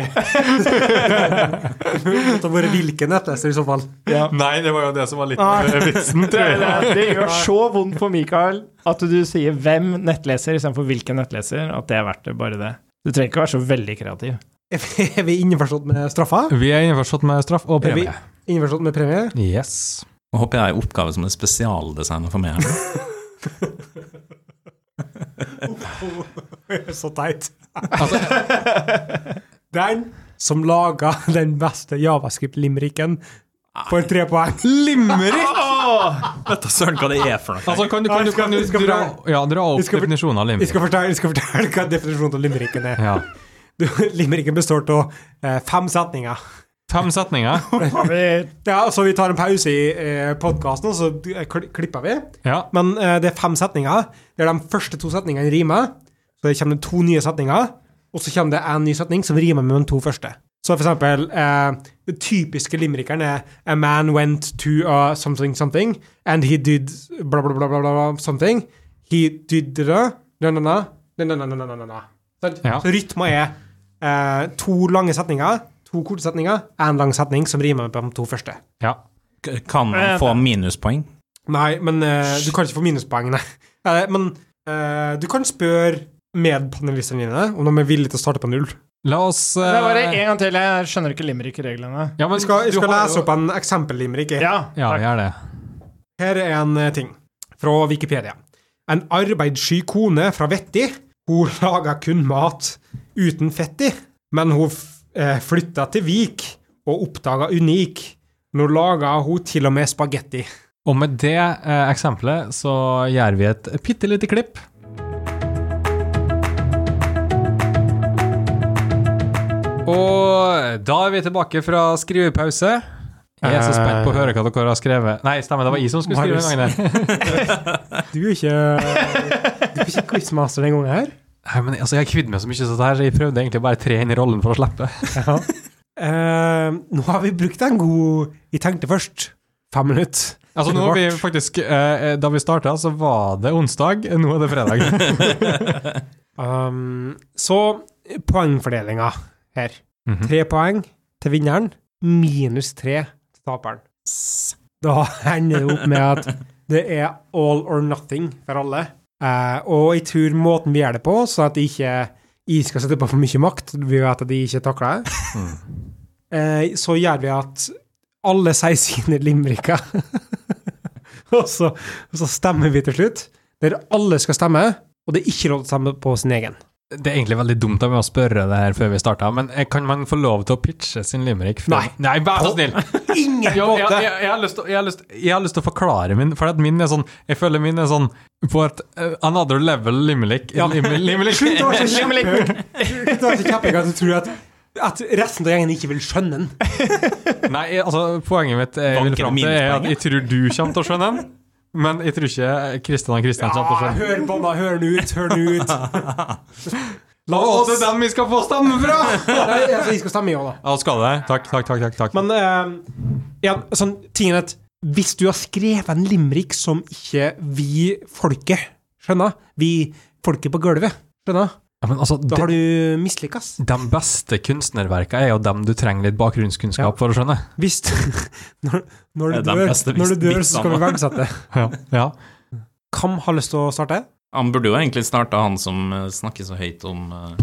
Det har vært hvilken nettleser i så fall.
Nei, det var jo det som var litt
Nei.
vitsen.
Det, det, det gjør så vondt for Mikael at du sier 'hvem nettleser' istedenfor 'hvilken nettleser'. At det er verdt det, bare det. Du trenger ikke være så veldig kreativ.
Er vi- Er vi innforstått med straffa?
Vi er innforstått med straff og
Er vi
premie.
innforstått med premie?
Yes.
Nå håper jeg det er en oppgave som er spesialdesignet for meg. her.
[laughs] Så teit.
Altså,
Den som laga [laughs] den beste javascript-limericken, får tre poeng.
Limerick!
Vet [laughs] da søren hva det er for noe.
Altså, kan du, kan du, kan du
Vi skal- vi
dra,
skal-
ja, dra
vi
opp
skal-
definisjonen av
Jeg
limerick?
skal fortelle, jeg skal fortelle hva definisjonen av limericken er.
Ja.
Du, limericken består av eh, fem setninger.
Fem setninger.
Har vi
Ja, så vi tar en pause i eh, podkasten, og så eh, kli- klipper vi.
Ja.
Men eh, det er fem setninger. Det er de første to setningene rimer. Så det kommer det to nye setninger. og så kommer det en ny setning som rimer med de to første. Så for eksempel, eh, den typiske limerickeren er A man went to a something something, and he did bla bla bla bla, bla bla, something. He did da, na na na, na na na na na na na. Sant?
Ja.
Så rytma er eh, to lange setninger, to korte setninger, en lang setning som rimer med de to første.
Ja.
K- Kan man få minuspoeng?
Nei, men eh, du kan ikke få minuspoeng, [laughs] nei. Eh, men eh, du kan spørre medpanelistene dine om de er villige til å starte på null.
La oss
Det
eh,
er bare en gang til. Jeg skjønner ikke limerick-reglene.
ja, men
Jeg skal, jeg
du
skal
har
lese
jo-
opp en eksempellimerick. jeg.
Ja,
Ja,
takk.
gjør det.
Her er en eh, ting fra Wikipedia. En arbeidssky kone fra Vetti. Hun [laughs] laga kun mat uten fett i, men hun f- eh, flytta til Vik og oppdaga Unik. Nå laga hun til og med spagetti.
Og med det eh, eksempelet så gjør vi et bitte lite klipp. Og da er vi tilbake fra skrivepause. Jeg er
Eh.
så spent på å høre hva dere har skrevet. Nei, stemmer, det var jeg som skulle skrive. den gangen der.
Du er ikke, du er ikke quizmaster den gangen her.
Nei, men altså, Jeg har kvidd meg så mye, så det her, så jeg prøvde egentlig bare å tre inn i rollen for å slippe.
Eh, nå har vi brukt en god Vi tenkte først fem minutter.
Altså nå har vi faktisk, eh, Da vi starta, så var det onsdag. Nå er det [laughs] fredag.
Um, så poengfordelinga her.
Mhm.
Tre poeng til vinneren, minus tre til taperen. Da ender det opp med at det er all or nothing for alle. Eh, og jeg tror måten vi gjør det på, så at jeg ikke jeg skal sette på for mye makt, vi vet at jeg ikke takler det, eh, så gjør vi at alle sier sine limericker. [laughs] og, så, og så stemmer vi til slutt, der alle skal stemme, og det er ikke lov til å stemme på sin egen.
Det er egentlig veldig dumt av meg å spørre det her før vi starta, men eh, kan man få lov til å pitche sin limerick? før-
Nei.
Nei, vær så [laughs] snill!
Ingen
Ja, jeg,
måte!
jeg, jeg, har lyst til, jeg, har lyst, jeg har lyst til å forklare min, for at min er sånn Jeg føler min er sånn på et eh, another level limelick. Lim, [laughs] limelick.
Slutt å være så [laughs] kjepphøy! Slutt å være så kjepphøy at du tror at, at resten av gjengen ikke vil skjønne den.
Nei, jeg, altså, poenget mitt er, jeg vil
Banker
fram til, er at
minuspoenget?
jeg tror du kommer til å skjønne den, men jeg tror ikke Kristian og Kristian kommer til å skjønne
Ah,
den.
hør på meg, hør den ut, hør den [laughs] ut. La
Og
oss
det er dem vi skal få stemme fra! [laughs]
Nei, altså, Vi skal stemme ja, da.
Ja, skal det? Takk, takk, takk. takk, takk.
Men eh, ja, sånn, tingen er at hvis du har skrevet en limerick som ikke vi, folket, skjønner Vi, folket på gulvet, skjønner
ja, men altså,
Da
de,
har du mislykkes.
de beste kunstnerverkene er jo dem du trenger litt bakgrunnskunnskap
Ja.
for å skjønne.
Hvis du Når, når, du
Det er de
dør,
beste
når du dør, så skal vi
vitsene.
verdsette.
Ja. ja.
Hvem har lyst til å starte?
Han burde jo egentlig starta, han som eh, snakker så høyt om eh,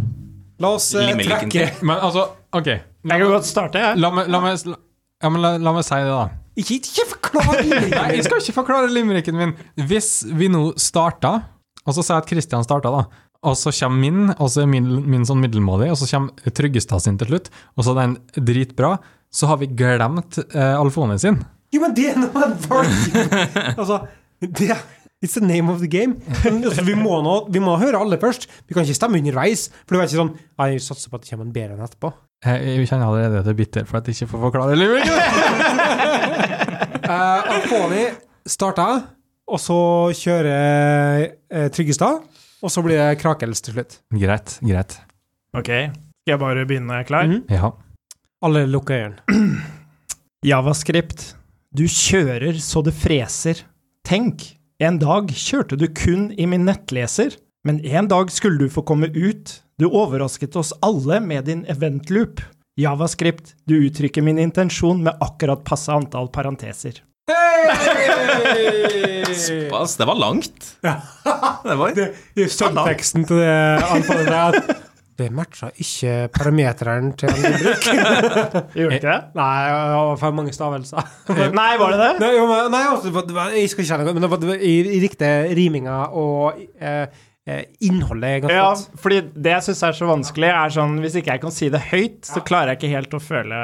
La oss eh,
Limericken
trekke
Men altså, OK.
Jeg kan godt starte, jeg.
La meg, la meg, ja, men la, la meg si det, da.
Ikke, ikke [laughs] forklar
Nei, jeg skal ikke forklare limericken min. Hvis vi nå starta, og så sier jeg at Kristian starta, da, og så kommer min, og så er min, min sånn middelmådig, og så kommer Tryggestad sin til slutt, og så er den dritbra, så har vi glemt eh, Alfone sin.
Jo, men det er noe alvorlig. Altså, det It's the name of the game. Men, altså, vi, må nå, vi må høre alle først. Vi kan ikke stemme underveis. For det er ikke sånn «Nei, Jeg satser på at det kommer en bedre enn etterpå.
Jeg, Eh, jeg kjenner allerede at jeg er bitter for at jeg ikke får forklare limericken.
Uh, Alfoni starta, og så kjører eh, Tryggestad. Og så blir det Krakels til slutt.
Greit, greit.
Ok, skal jeg bare begynne når jeg er klar?
Mhm.
Ja.
Alle lukker øynene.
Javascript. Du kjører så det freser. Tenk, en dag kjørte du kun i min nettleser, men en dag skulle du få komme ut. Du overrasket oss alle med din eventloop. Javascript, du uttrykker min intensjon med akkurat passe antall parenteser.
Pass, det var langt! Det var
Det, det er
sånn
Subteksten til det Alfoni der. at Det matcha ikke parameteren til en bruk.
Gjorde ikke det?
Nei, det var for mange stavelser.
Nei, var det det?
Nei, jo, men, nei altså, det var- jeg skal ikke kjenne det, men det var, det var i, i riktig riminga og eh, eh, innholdet ganske
Ja,
godt.
fordi det jeg syns er så vanskelig, er sånn hvis ikke jeg kan si det høyt, så klarer jeg ikke helt å føle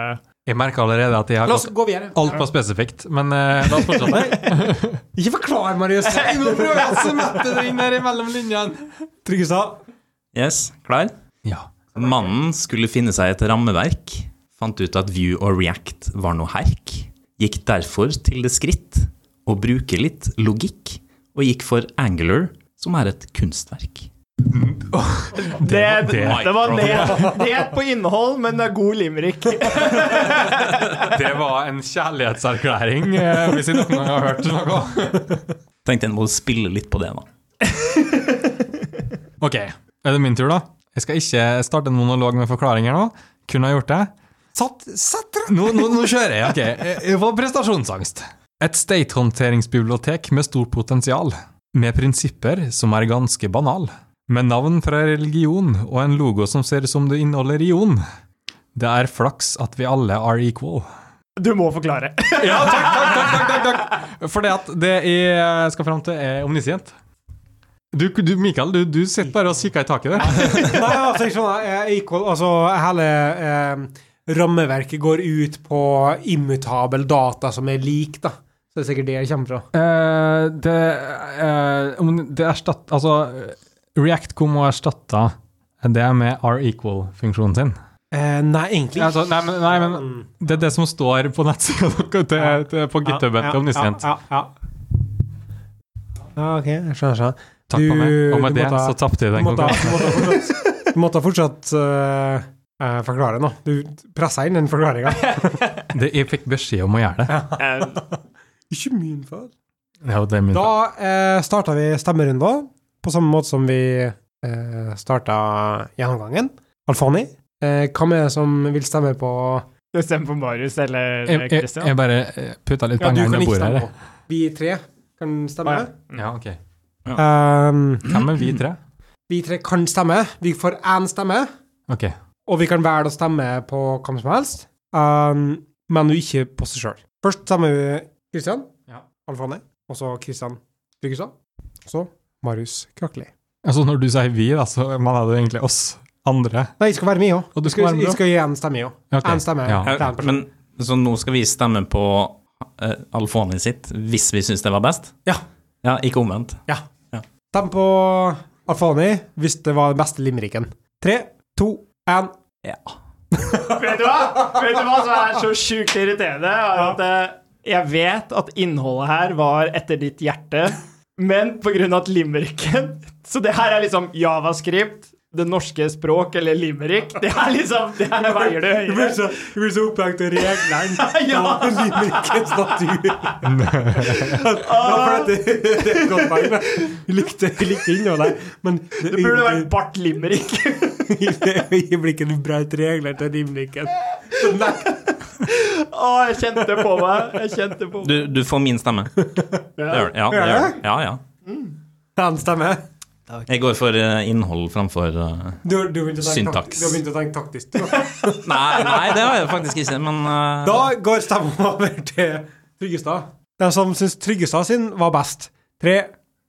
Jeg merker allerede at jeg har
La oss
gått
gå videre.
altfor spesifikt, men eh,
[laughs]
la oss fortsette.
Ikke forklar,
[laughs]
Marius!
Jeg må prøve å smette det inn her imellom linjene.
Tryggestad.
Yes, klar?
Ja.
Mannen skulle finne seg et rammeverk, fant ut at Vue og React var noe herk, gikk derfor til det skritt å bruke litt logikk, og gikk for Angular, som er et kunstverk.
Det, det,
var-
var ned, ned på innhold, men det er god limerick.
Det var en kjærlighetserklæring, eh, hvis jeg noen gang har hørt noe.
Tenkte jeg må spille litt på det, da.
Ok, er det min tur da? Jeg skal ikke starte en monolog med forklaringer nå. Kunne ha gjort det. Satt, satt dere- nå, nå, nå kjører jeg, ok. Jeg- Jeg får prestasjonsangst. Et statehåndteringsbibliotek med stort potensial. Med prinsipper som er ganske banal. Med navn fra religion og en logo som ser ut som det inneholder ion. Det er flaks at vi alle are equal.
Du må forklare.
[laughs]
[laughs]
Ja, takk, takk, takk, takk, takk, takk. For det at det jeg skal fram til er omniscient. Du, du Mikael, du, du sitter bare og kikker i taket der.
Nei, altså, jeg skjønner. eh, Equal, altså hele eh, rammeverket går ut på immutabel data som er lik, da. Så det er sikkert det jeg kommer fra.
Eh, det, eh, om det erstatt, altså, React kom og erstatta det med requal-funksjonen sin.
Eh, nei, egentlig Mm.
Altså, nei, men, nei, men det er det som står på nettsida [laughs] deres til- til- på GitHub til Omniscient.
Ja, ja, ja. ja, ok, jeg skjønner. skjønner.
Takk for meg. Og med
du
det
må ta-
så tapte jeg
Du
den
måtte,
konkurransen.
du måtte fortsatt, du måtte fortsatt eh, eh, forklare nå. Du pressa inn den forklaringa.
Det- Jeg fikk beskjed om å gjøre det.
Um,
Ikke min feil.
Ja, det er min. feil.
Da eh, starta vi stemmerunden, på samme måte som vi eh, starta gjennomgangen. Alfani, eh, hvem er det som vil stemme på
Du stemmer på Marius eller
Jeg, jeg,
Christian.
jeg bare eh, putta litt
Ja, du
penger
kan
under
ikke
bordet
stemme
her.
på. Vi tre kan stemme.
Å,
Ja, ok.
Ehm,
Hvem er vi tre?
vi tre kan stemme. Vi får én stemme,
Ok.
og vi kan velge å stemme på hvem som helst, Ehm, men ikke på seg sjøl. Først stemmer vi Christian
Ja.
Alfani, og så Christian Tryggestad, og så Marius Krakli.
Altså, når du sier vi, da, så mener du egentlig oss andre.
Nei, jeg skal være med, jo.
Og du
Jeg
skal være
skal,
med
jeg
også?
skal gi én stemme, jo.
Ok,
En stemme.
Ja.
Det er en person.
Men, så nå skal vi stemme på eh, Alfoni sitt, hvis vi syns det var best?
Ja.
Ja, Ikke omvendt.
Stem på Alfani hvis det var den beste limericken. Tre, to, én.
Ja.
Vet du hva? Vet du hva som er så sjukt irriterende? Er at eh, jeg vet at innholdet her var etter ditt hjerte, men på grunn av at limericken Så det her er liksom javascript, det norske språk eller limerick. Det er liksom Det her veier det høyere.
Du blir så opphengt i reglene
[laughs] Ja.
limerickens
[laughs]
natur. Ja, for det, det er et godt poeng. da. Vi likte, vi likte innholdet, men det,
Det burde vært bart limerick. [laughs]
øyeblikket du brøt reglene til limericken. Nei,
Å, jeg kjente det på meg. Jeg kjente det på meg.
Du, du får min stemme. Det gjør du. Ja, det gjør du. Ja, ja.
den stemmer.
Jeg går for eh, innhold framfor eh,
Du, du begynte å tenke
Syntaks.
takt- du har begynt å tenke taktisk. du.
Nei, nei, det har jeg faktisk ikke, men eh,
Da går stemmen over til Tryggestad. Den som syns Tryggestad sin var best. Tre,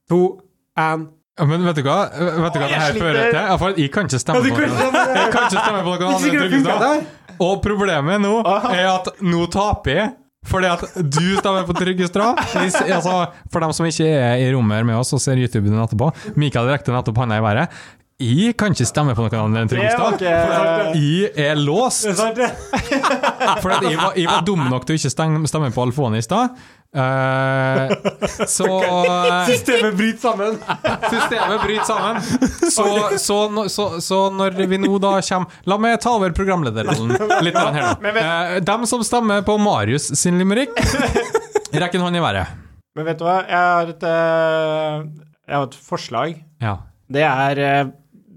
to, én.
Ja, Men vet du hva Vet du hva det her
sliter.
fører til? Ja, for Jeg kan ikke stemme på noen. Jeg kan ikke stemme på noen andre Trygstad. Og problemet nå er at nå taper jeg. Fordi at du stemmer på Tryggestad. Hvis, altså, for dem som ikke er i rommet her med oss og ser YouTuben etterpå. Mikael rekte nettopp handa i været. Jeg kan ikke stemme på noen andre enn Tryggestad.
Det var ikke- eh,
Jeg er låst.
Det er sant, det.
For at jeg, var, jeg var dum nok til å ikke stemme stemme på Alfone i stad. Eh, så eh,
Systemet bryter sammen.
Systemet bryter sammen. Så, så, nå- så, så når vi nå da kommer La meg ta over programlederrollen litt grann her nå.
Men vent.
Eh, dem som stemmer på Marius sin limerick, rekk en hånd i været.
Men vet du hva? Jeg har et, eh, jeg har et forslag.
Ja.
Det er eh,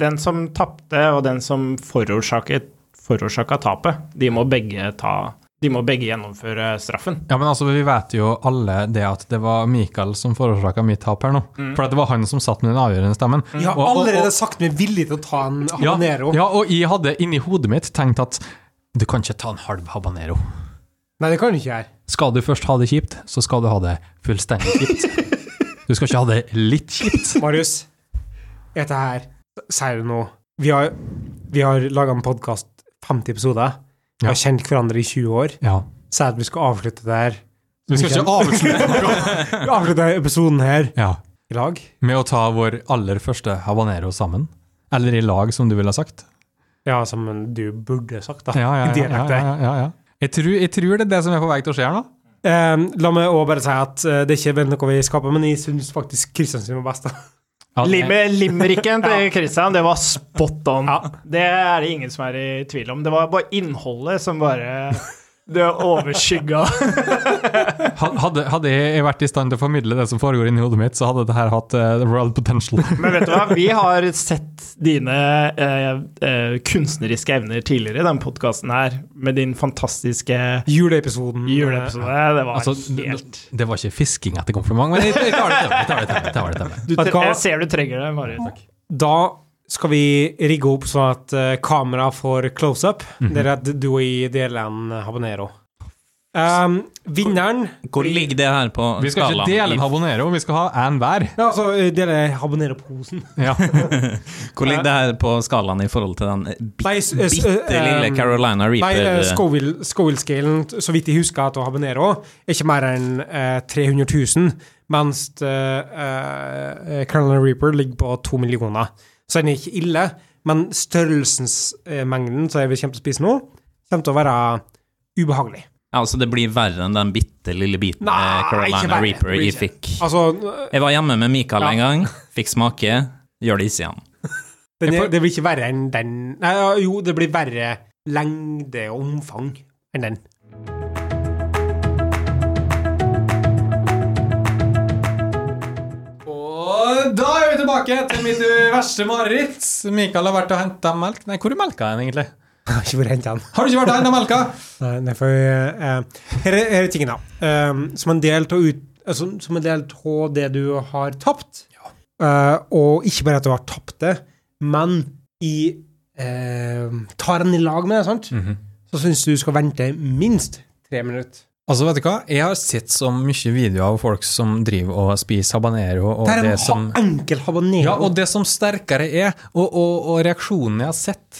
den som tapte, og den som forårsaket forårsaka tapet. De må begge ta De må begge gjennomføre straffen.
ja, men altså, vi vet jo alle det at det var Mikael som forårsaka mitt tap her nå. For at det var han som satt med den avgjørende stemmen.
Jeg har
Og- og- og-
Mm. allerede sagt meg villig til å ta en
ja,
habanero.
ja, og jeg hadde inni hodet mitt tenkt at du kan ikke ta en halv habanero.
Nei, det kan du ikke her.
Skal du først ha det kjipt, så skal du ha det fullstendig kjipt. Du skal ikke ha det litt kjipt.
Marius, et det her Sier du noe? Vi har, vi har laga en podkast, 50 episoder. Vi har kjent hverandre i 20 år.
Ja.
Sier at vi skal avslutte det her.
Vi skal ikke avslutte
Avslutte denne episoden her
[laughs] ja.
i lag.
med å ta vår aller første habanero sammen. Eller i lag, som du ville ha sagt.
Ja, som du burde sagt, da.
Ja, ja, ja, ja,
Direkte.
ja, ja, ja. Jeg, tror, jeg tror det er det som er på vei til å skje her nå.
Eh, la meg også bare si at eh, det er ikke vel noe vi skaper, men jeg syns faktisk Kristian sin var best. da.
Ja, det-
Lim
[laughs]
Limericken til Christian, det var spot on. Det er det ingen som er i tvil om. Det var bare innholdet som bare Det overskygga
[laughs] Ha- Hadde, hadde jeg vært i stand til å formidle det som foregår inni hodet mitt, så hadde det her hatt eh, the world potential.
Men vet du hva, vi har sett dine eh, eh, kunstneriske evner tidligere i denne podkasten her, med din fantastiske
Juleepisoden.
juleepisode. Det var
Altså,
helt
[laughs] det var ikke fisking etter kompliment, men jeg, jeg tar det til meg. Jeg tar det til meg, jeg tar det til meg.
du,
Vet du hva?
Jeg ser du trenger det, Marit.
Da skal vi rigge opp sånn at eh, kamera får close up.
Mhm.
Det er at du i DLN habanero. Um, vinneren
Hvor ligger det her på
Vi skal ikke dele en
skalaen?
habanero, vi skal ha en hver.
Ja, altså, eh, dele habanero-posen.
Ja.
Hvor
eh.
ligger det her på skalaen i forhold til den bitte,
Nei, s- eh, s-
bitte
eh,
lille
um,
Carolina
Nei,
Reaper?
eh, Scoville- Scoville-scalen, t- så vidt jeg husker at å habanero, er ikke mer enn eh, 300 000, mens eh, eh, Carolina Reaper ligger på 2 millioner. Så den er ikke ille, men størrelsesmengden som jeg vil kommer til å spise nå, kommer til å være ubehagelig.
ja, altså det blir verre enn den bitte lille biten
Nei,
eh,
ikke
Carolina
verre.
Reaper
Det blir
jeg
ikke.
fikk.
Altså,
Jeg var hjemme med Mikael
Ja.
en gang, fikk smake, gjør det ikke igjen.
den
Jeg
er,
får-
det blir ikke verre enn den Nei, jo, det blir verre lengde og omfang enn den.
[laughs] Og da er vi tilbake til mitt verste mareritt. Mikael har vært og henta melk. Nei, hvor er melka hen, egentlig?
[laughs] Jeg har ikke vært hentet den.
Har du ikke vært og henta melka?
Nei, nei, for eh, her, er, her er tingen, da. Eh, som en del av ut- altså, som en del av det du har tapt, eh, og ikke bare at du har tapt det, men i eh, tar den i lag med det, sant?
Mhm.
så syns du du skal vente minst tre minutter.
Altså, vet du hva? Jeg har sett så mye videoer av folk som driver og spiser habanero, og
Det er
det
en
som
ha enkel habanero.
Ja, og det som sterkere er, og, og, og reaksjonen jeg har sett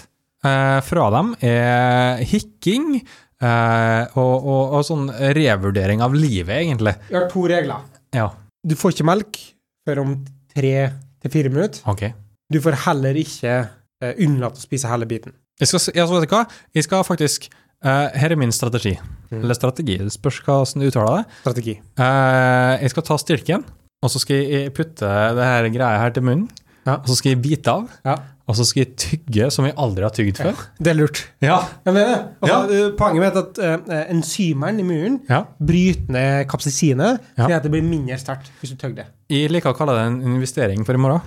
eh, fra dem, er hikking eh, og, og, og sånn revurdering av livet, egentlig.
Jeg har to regler.
Ja,
Du får ikke melk før om tre til fire minutter.
ok.
Du får heller ikke eh, unnlate å spise hele biten.
Jeg skal, jeg, vet du hva? Jeg skal faktisk eh, Her er min strategi.
Mm.
Eller strategi, det spørs hva- hvordan du uttaler det.
Strategi.
Eh, jeg skal ta stilken, og så skal jeg putte det her greia her til munnen.
Ja.
Og så skal jeg bite av,
Ja.
og så skal jeg tygge som jeg aldri har tygd før.
Det er lurt.
Ja.
Jeg mener, det. altså, eh, Poenget mitt er at eh, enzymeren i muren
ja.
bryter ned kapsisinet,
Ja.
slik at det blir mindre sterkt hvis du tygger det.
Jeg liker å kalle det en investering for i morgen.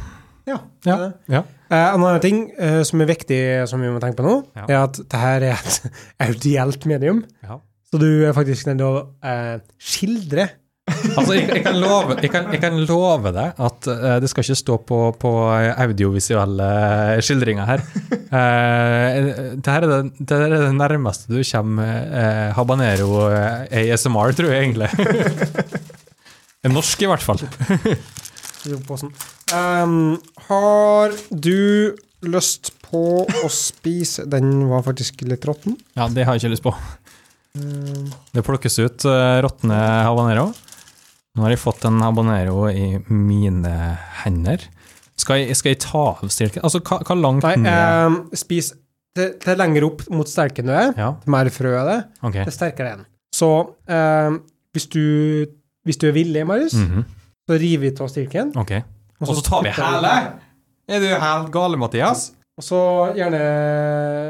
Ja. det
Ja.
er det.
Ja.
Eh, en annen ting eh, som er viktig, som vi må tenke på nå,
Ja.
er at det her er et [laughs] audielt medium.
Ja.
Så du er faktisk nødt til å eh, skildre.
Altså, jeg, jeg, kan love, jeg, kan, jeg kan love deg at eh, det skal ikke stå på, på audiovisuelle skildringer her. Uh, det her er det, det, her er det nærmeste du kommer eh, habanero eh, ASMR, tror jeg egentlig. En Norsk, i hvert fall.
posen. Ehm, har du lyst på å spise Den var faktisk litt råtten.
Ja, det har jeg ikke lyst på. Det plukkes ut uh, råtne habanero. Nå har jeg fått en habanero i mine hender. Skal jeg, skal jeg ta av stilken? Altså, hva, hva langt
Nei,
ned-
ehm, spis det, det er lenger opp mot sterken du er,
Ja,
det mer frø er det.
ok.
det sterkere er den. Så eh, hvis, du, hvis du er villig, Marius,
Mhm.
så river vi av stilken.
Ok. Og så tar vi hæle! Er du helt gale, Mathias?
Og så gjerne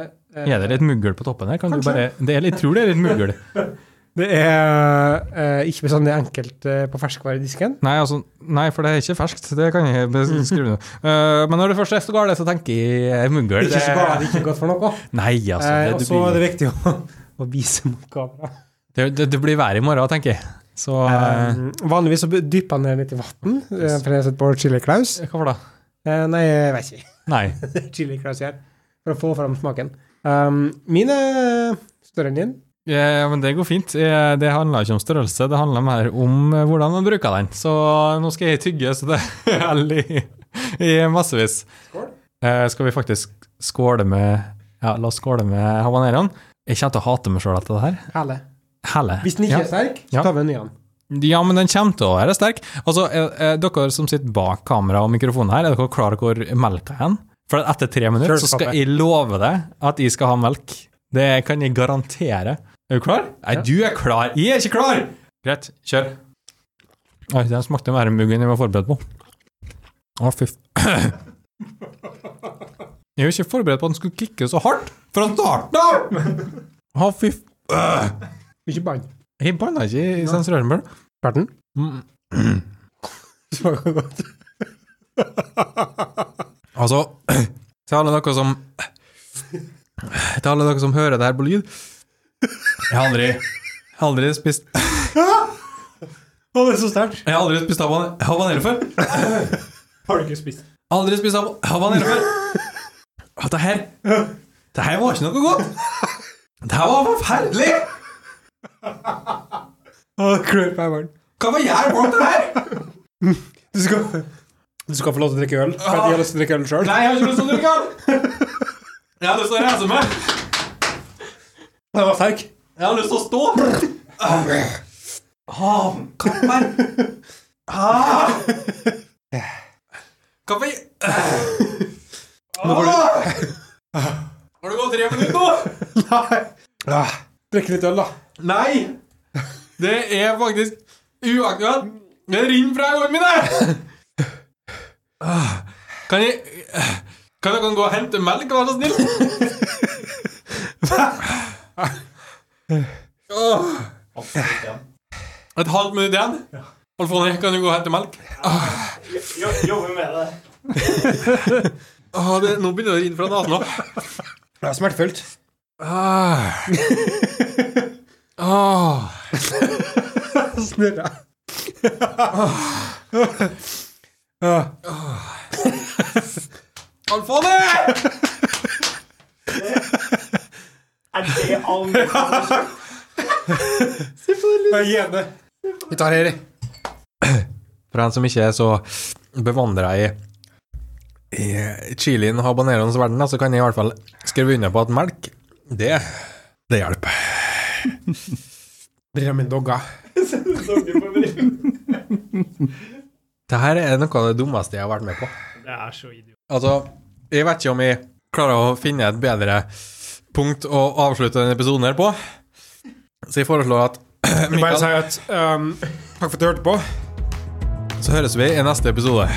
eh,
Er det litt muggel på toppen her? Kan du
Kanskje.
bare, det er, jeg tror det er litt muggel.
Det er eh, ikke bestandig enkelt eh, på ferskvaredisken.
Nei, altså, nei, for det er ikke ferskt. Det kan jeg beskrive nå. Eh, men når det først er så gale, så tenker jeg eh, muggel.
Ikke så bra, det er ikke godt for noe.
Nei, altså.
Eh,
Det,
og
det,
så er
blir,
det viktig å, [laughs] å vise mot kamera.
det, det, det blir vær i morgen, tenker jeg. Så eh,
Eh, vanligvis så dypper han ned litt i vann, eh, for jeg har sett på Chili Claus.
Hva for da?
Eh, nei, jeg vet ikke. [laughs]
Nei.
Chili Claus her, for å få fram smaken. Um, min er større enn din.
Ja, men det går fint. Eh, Det handler ikke om størrelse, det handler mer om eh, hvordan man bruker den. Så eh, nå skal jeg tygge, så det [laughs] er hell i, i massevis.
Skål.
Eh, skal vi faktisk skåle med Ja, la oss skåle med habaneroen. Jeg kommer til å hate meg sjøl etter det her.
Herlig.
Helle.
Hvis den ikke
ja.
er sterk,
Ja.
så tar vi en ny en.
ja, men den kommer til å være sterk. Altså, eh, eh, dere som sitter bak kamera og mikrofonen her, er dere klare hvor melka er hen? For etter tre minutter
Kjør,
så skal
pappa.
jeg love deg at jeg skal ha melk. Det kan jeg garantere. Er du klar? Nei,
Ja.
du er klar. Jeg er ikke klar! Greit, kjør. Oi, den smakte mer mugg enn jeg var forberedt på. Å, fy f- Jeg er jo ikke forberedt på at han skulle kicke så hardt fra starten av! Ha, fy f... Øh.
Ikke bann.
Jeg banna ikke i sensorarmbøl.
Klarte den? [laughs]
Altså, [clears throat] til alle dere som Til alle dere som hører det her på lyd Jeg har aldri jeg har aldri spist Jeg
Å, det er så sterkt!
har aldri spist haban- habanero før. Jeg
Har du ikke spist?
har Aldri spist hab- habanero før. Og det her Det her var ikke noe godt. Det her var forferdelig.
Å, klør på armen.
Hva var jeg bak det her?
Du skal, du skal få lov til å drikke øl. For at jeg har lyst til å drikke øl sjøl.
Nei, jeg har ikke lyst til å drikke den. Jeg har lyst til å reise meg.
Den var sterk.
Jeg har lyst til å stå. Ah, kapper. Ah. Kaffe. Ah. Har det gått tre minutter nå?
Ah, Drikk litt øl, da.
Nei. Det er faktisk uaktuelt. Det renner fra øynene mine. Ah. Kan jeg Kan dere gå og hente melk, vær så snill? Åh. Ah. Et halvt minutt igjen? Alfone, kan du gå og hente melk?
Jobber med det.
Åh, det, nå begynner det å renne fra nesen òg.
[laughs] Det er smertefullt. [laughs]
Ah. Ah.
Snurra.
Ah.
Ah.
Alfone!
Er det all metafor?
Vi tar Heri. For en som ikke er så bevandra i, i chilien og habaneroens verden, da, så kan jeg i hvert fall skrive under på at melk, det, det
[laughs]
hjelper.
Driver med dogger.
Dette her er noe av [laughs] det dummeste jeg har vært med på.
Det er så idiot.
Altså, jeg vet ikke om jeg klarer å finne et bedre punkt å avslutte denne episoden her på, så jeg foreslår at [clears throat]
Bare
Mikael,
si at ehm, Takk for at du hørte på.
så høres vi i neste episode.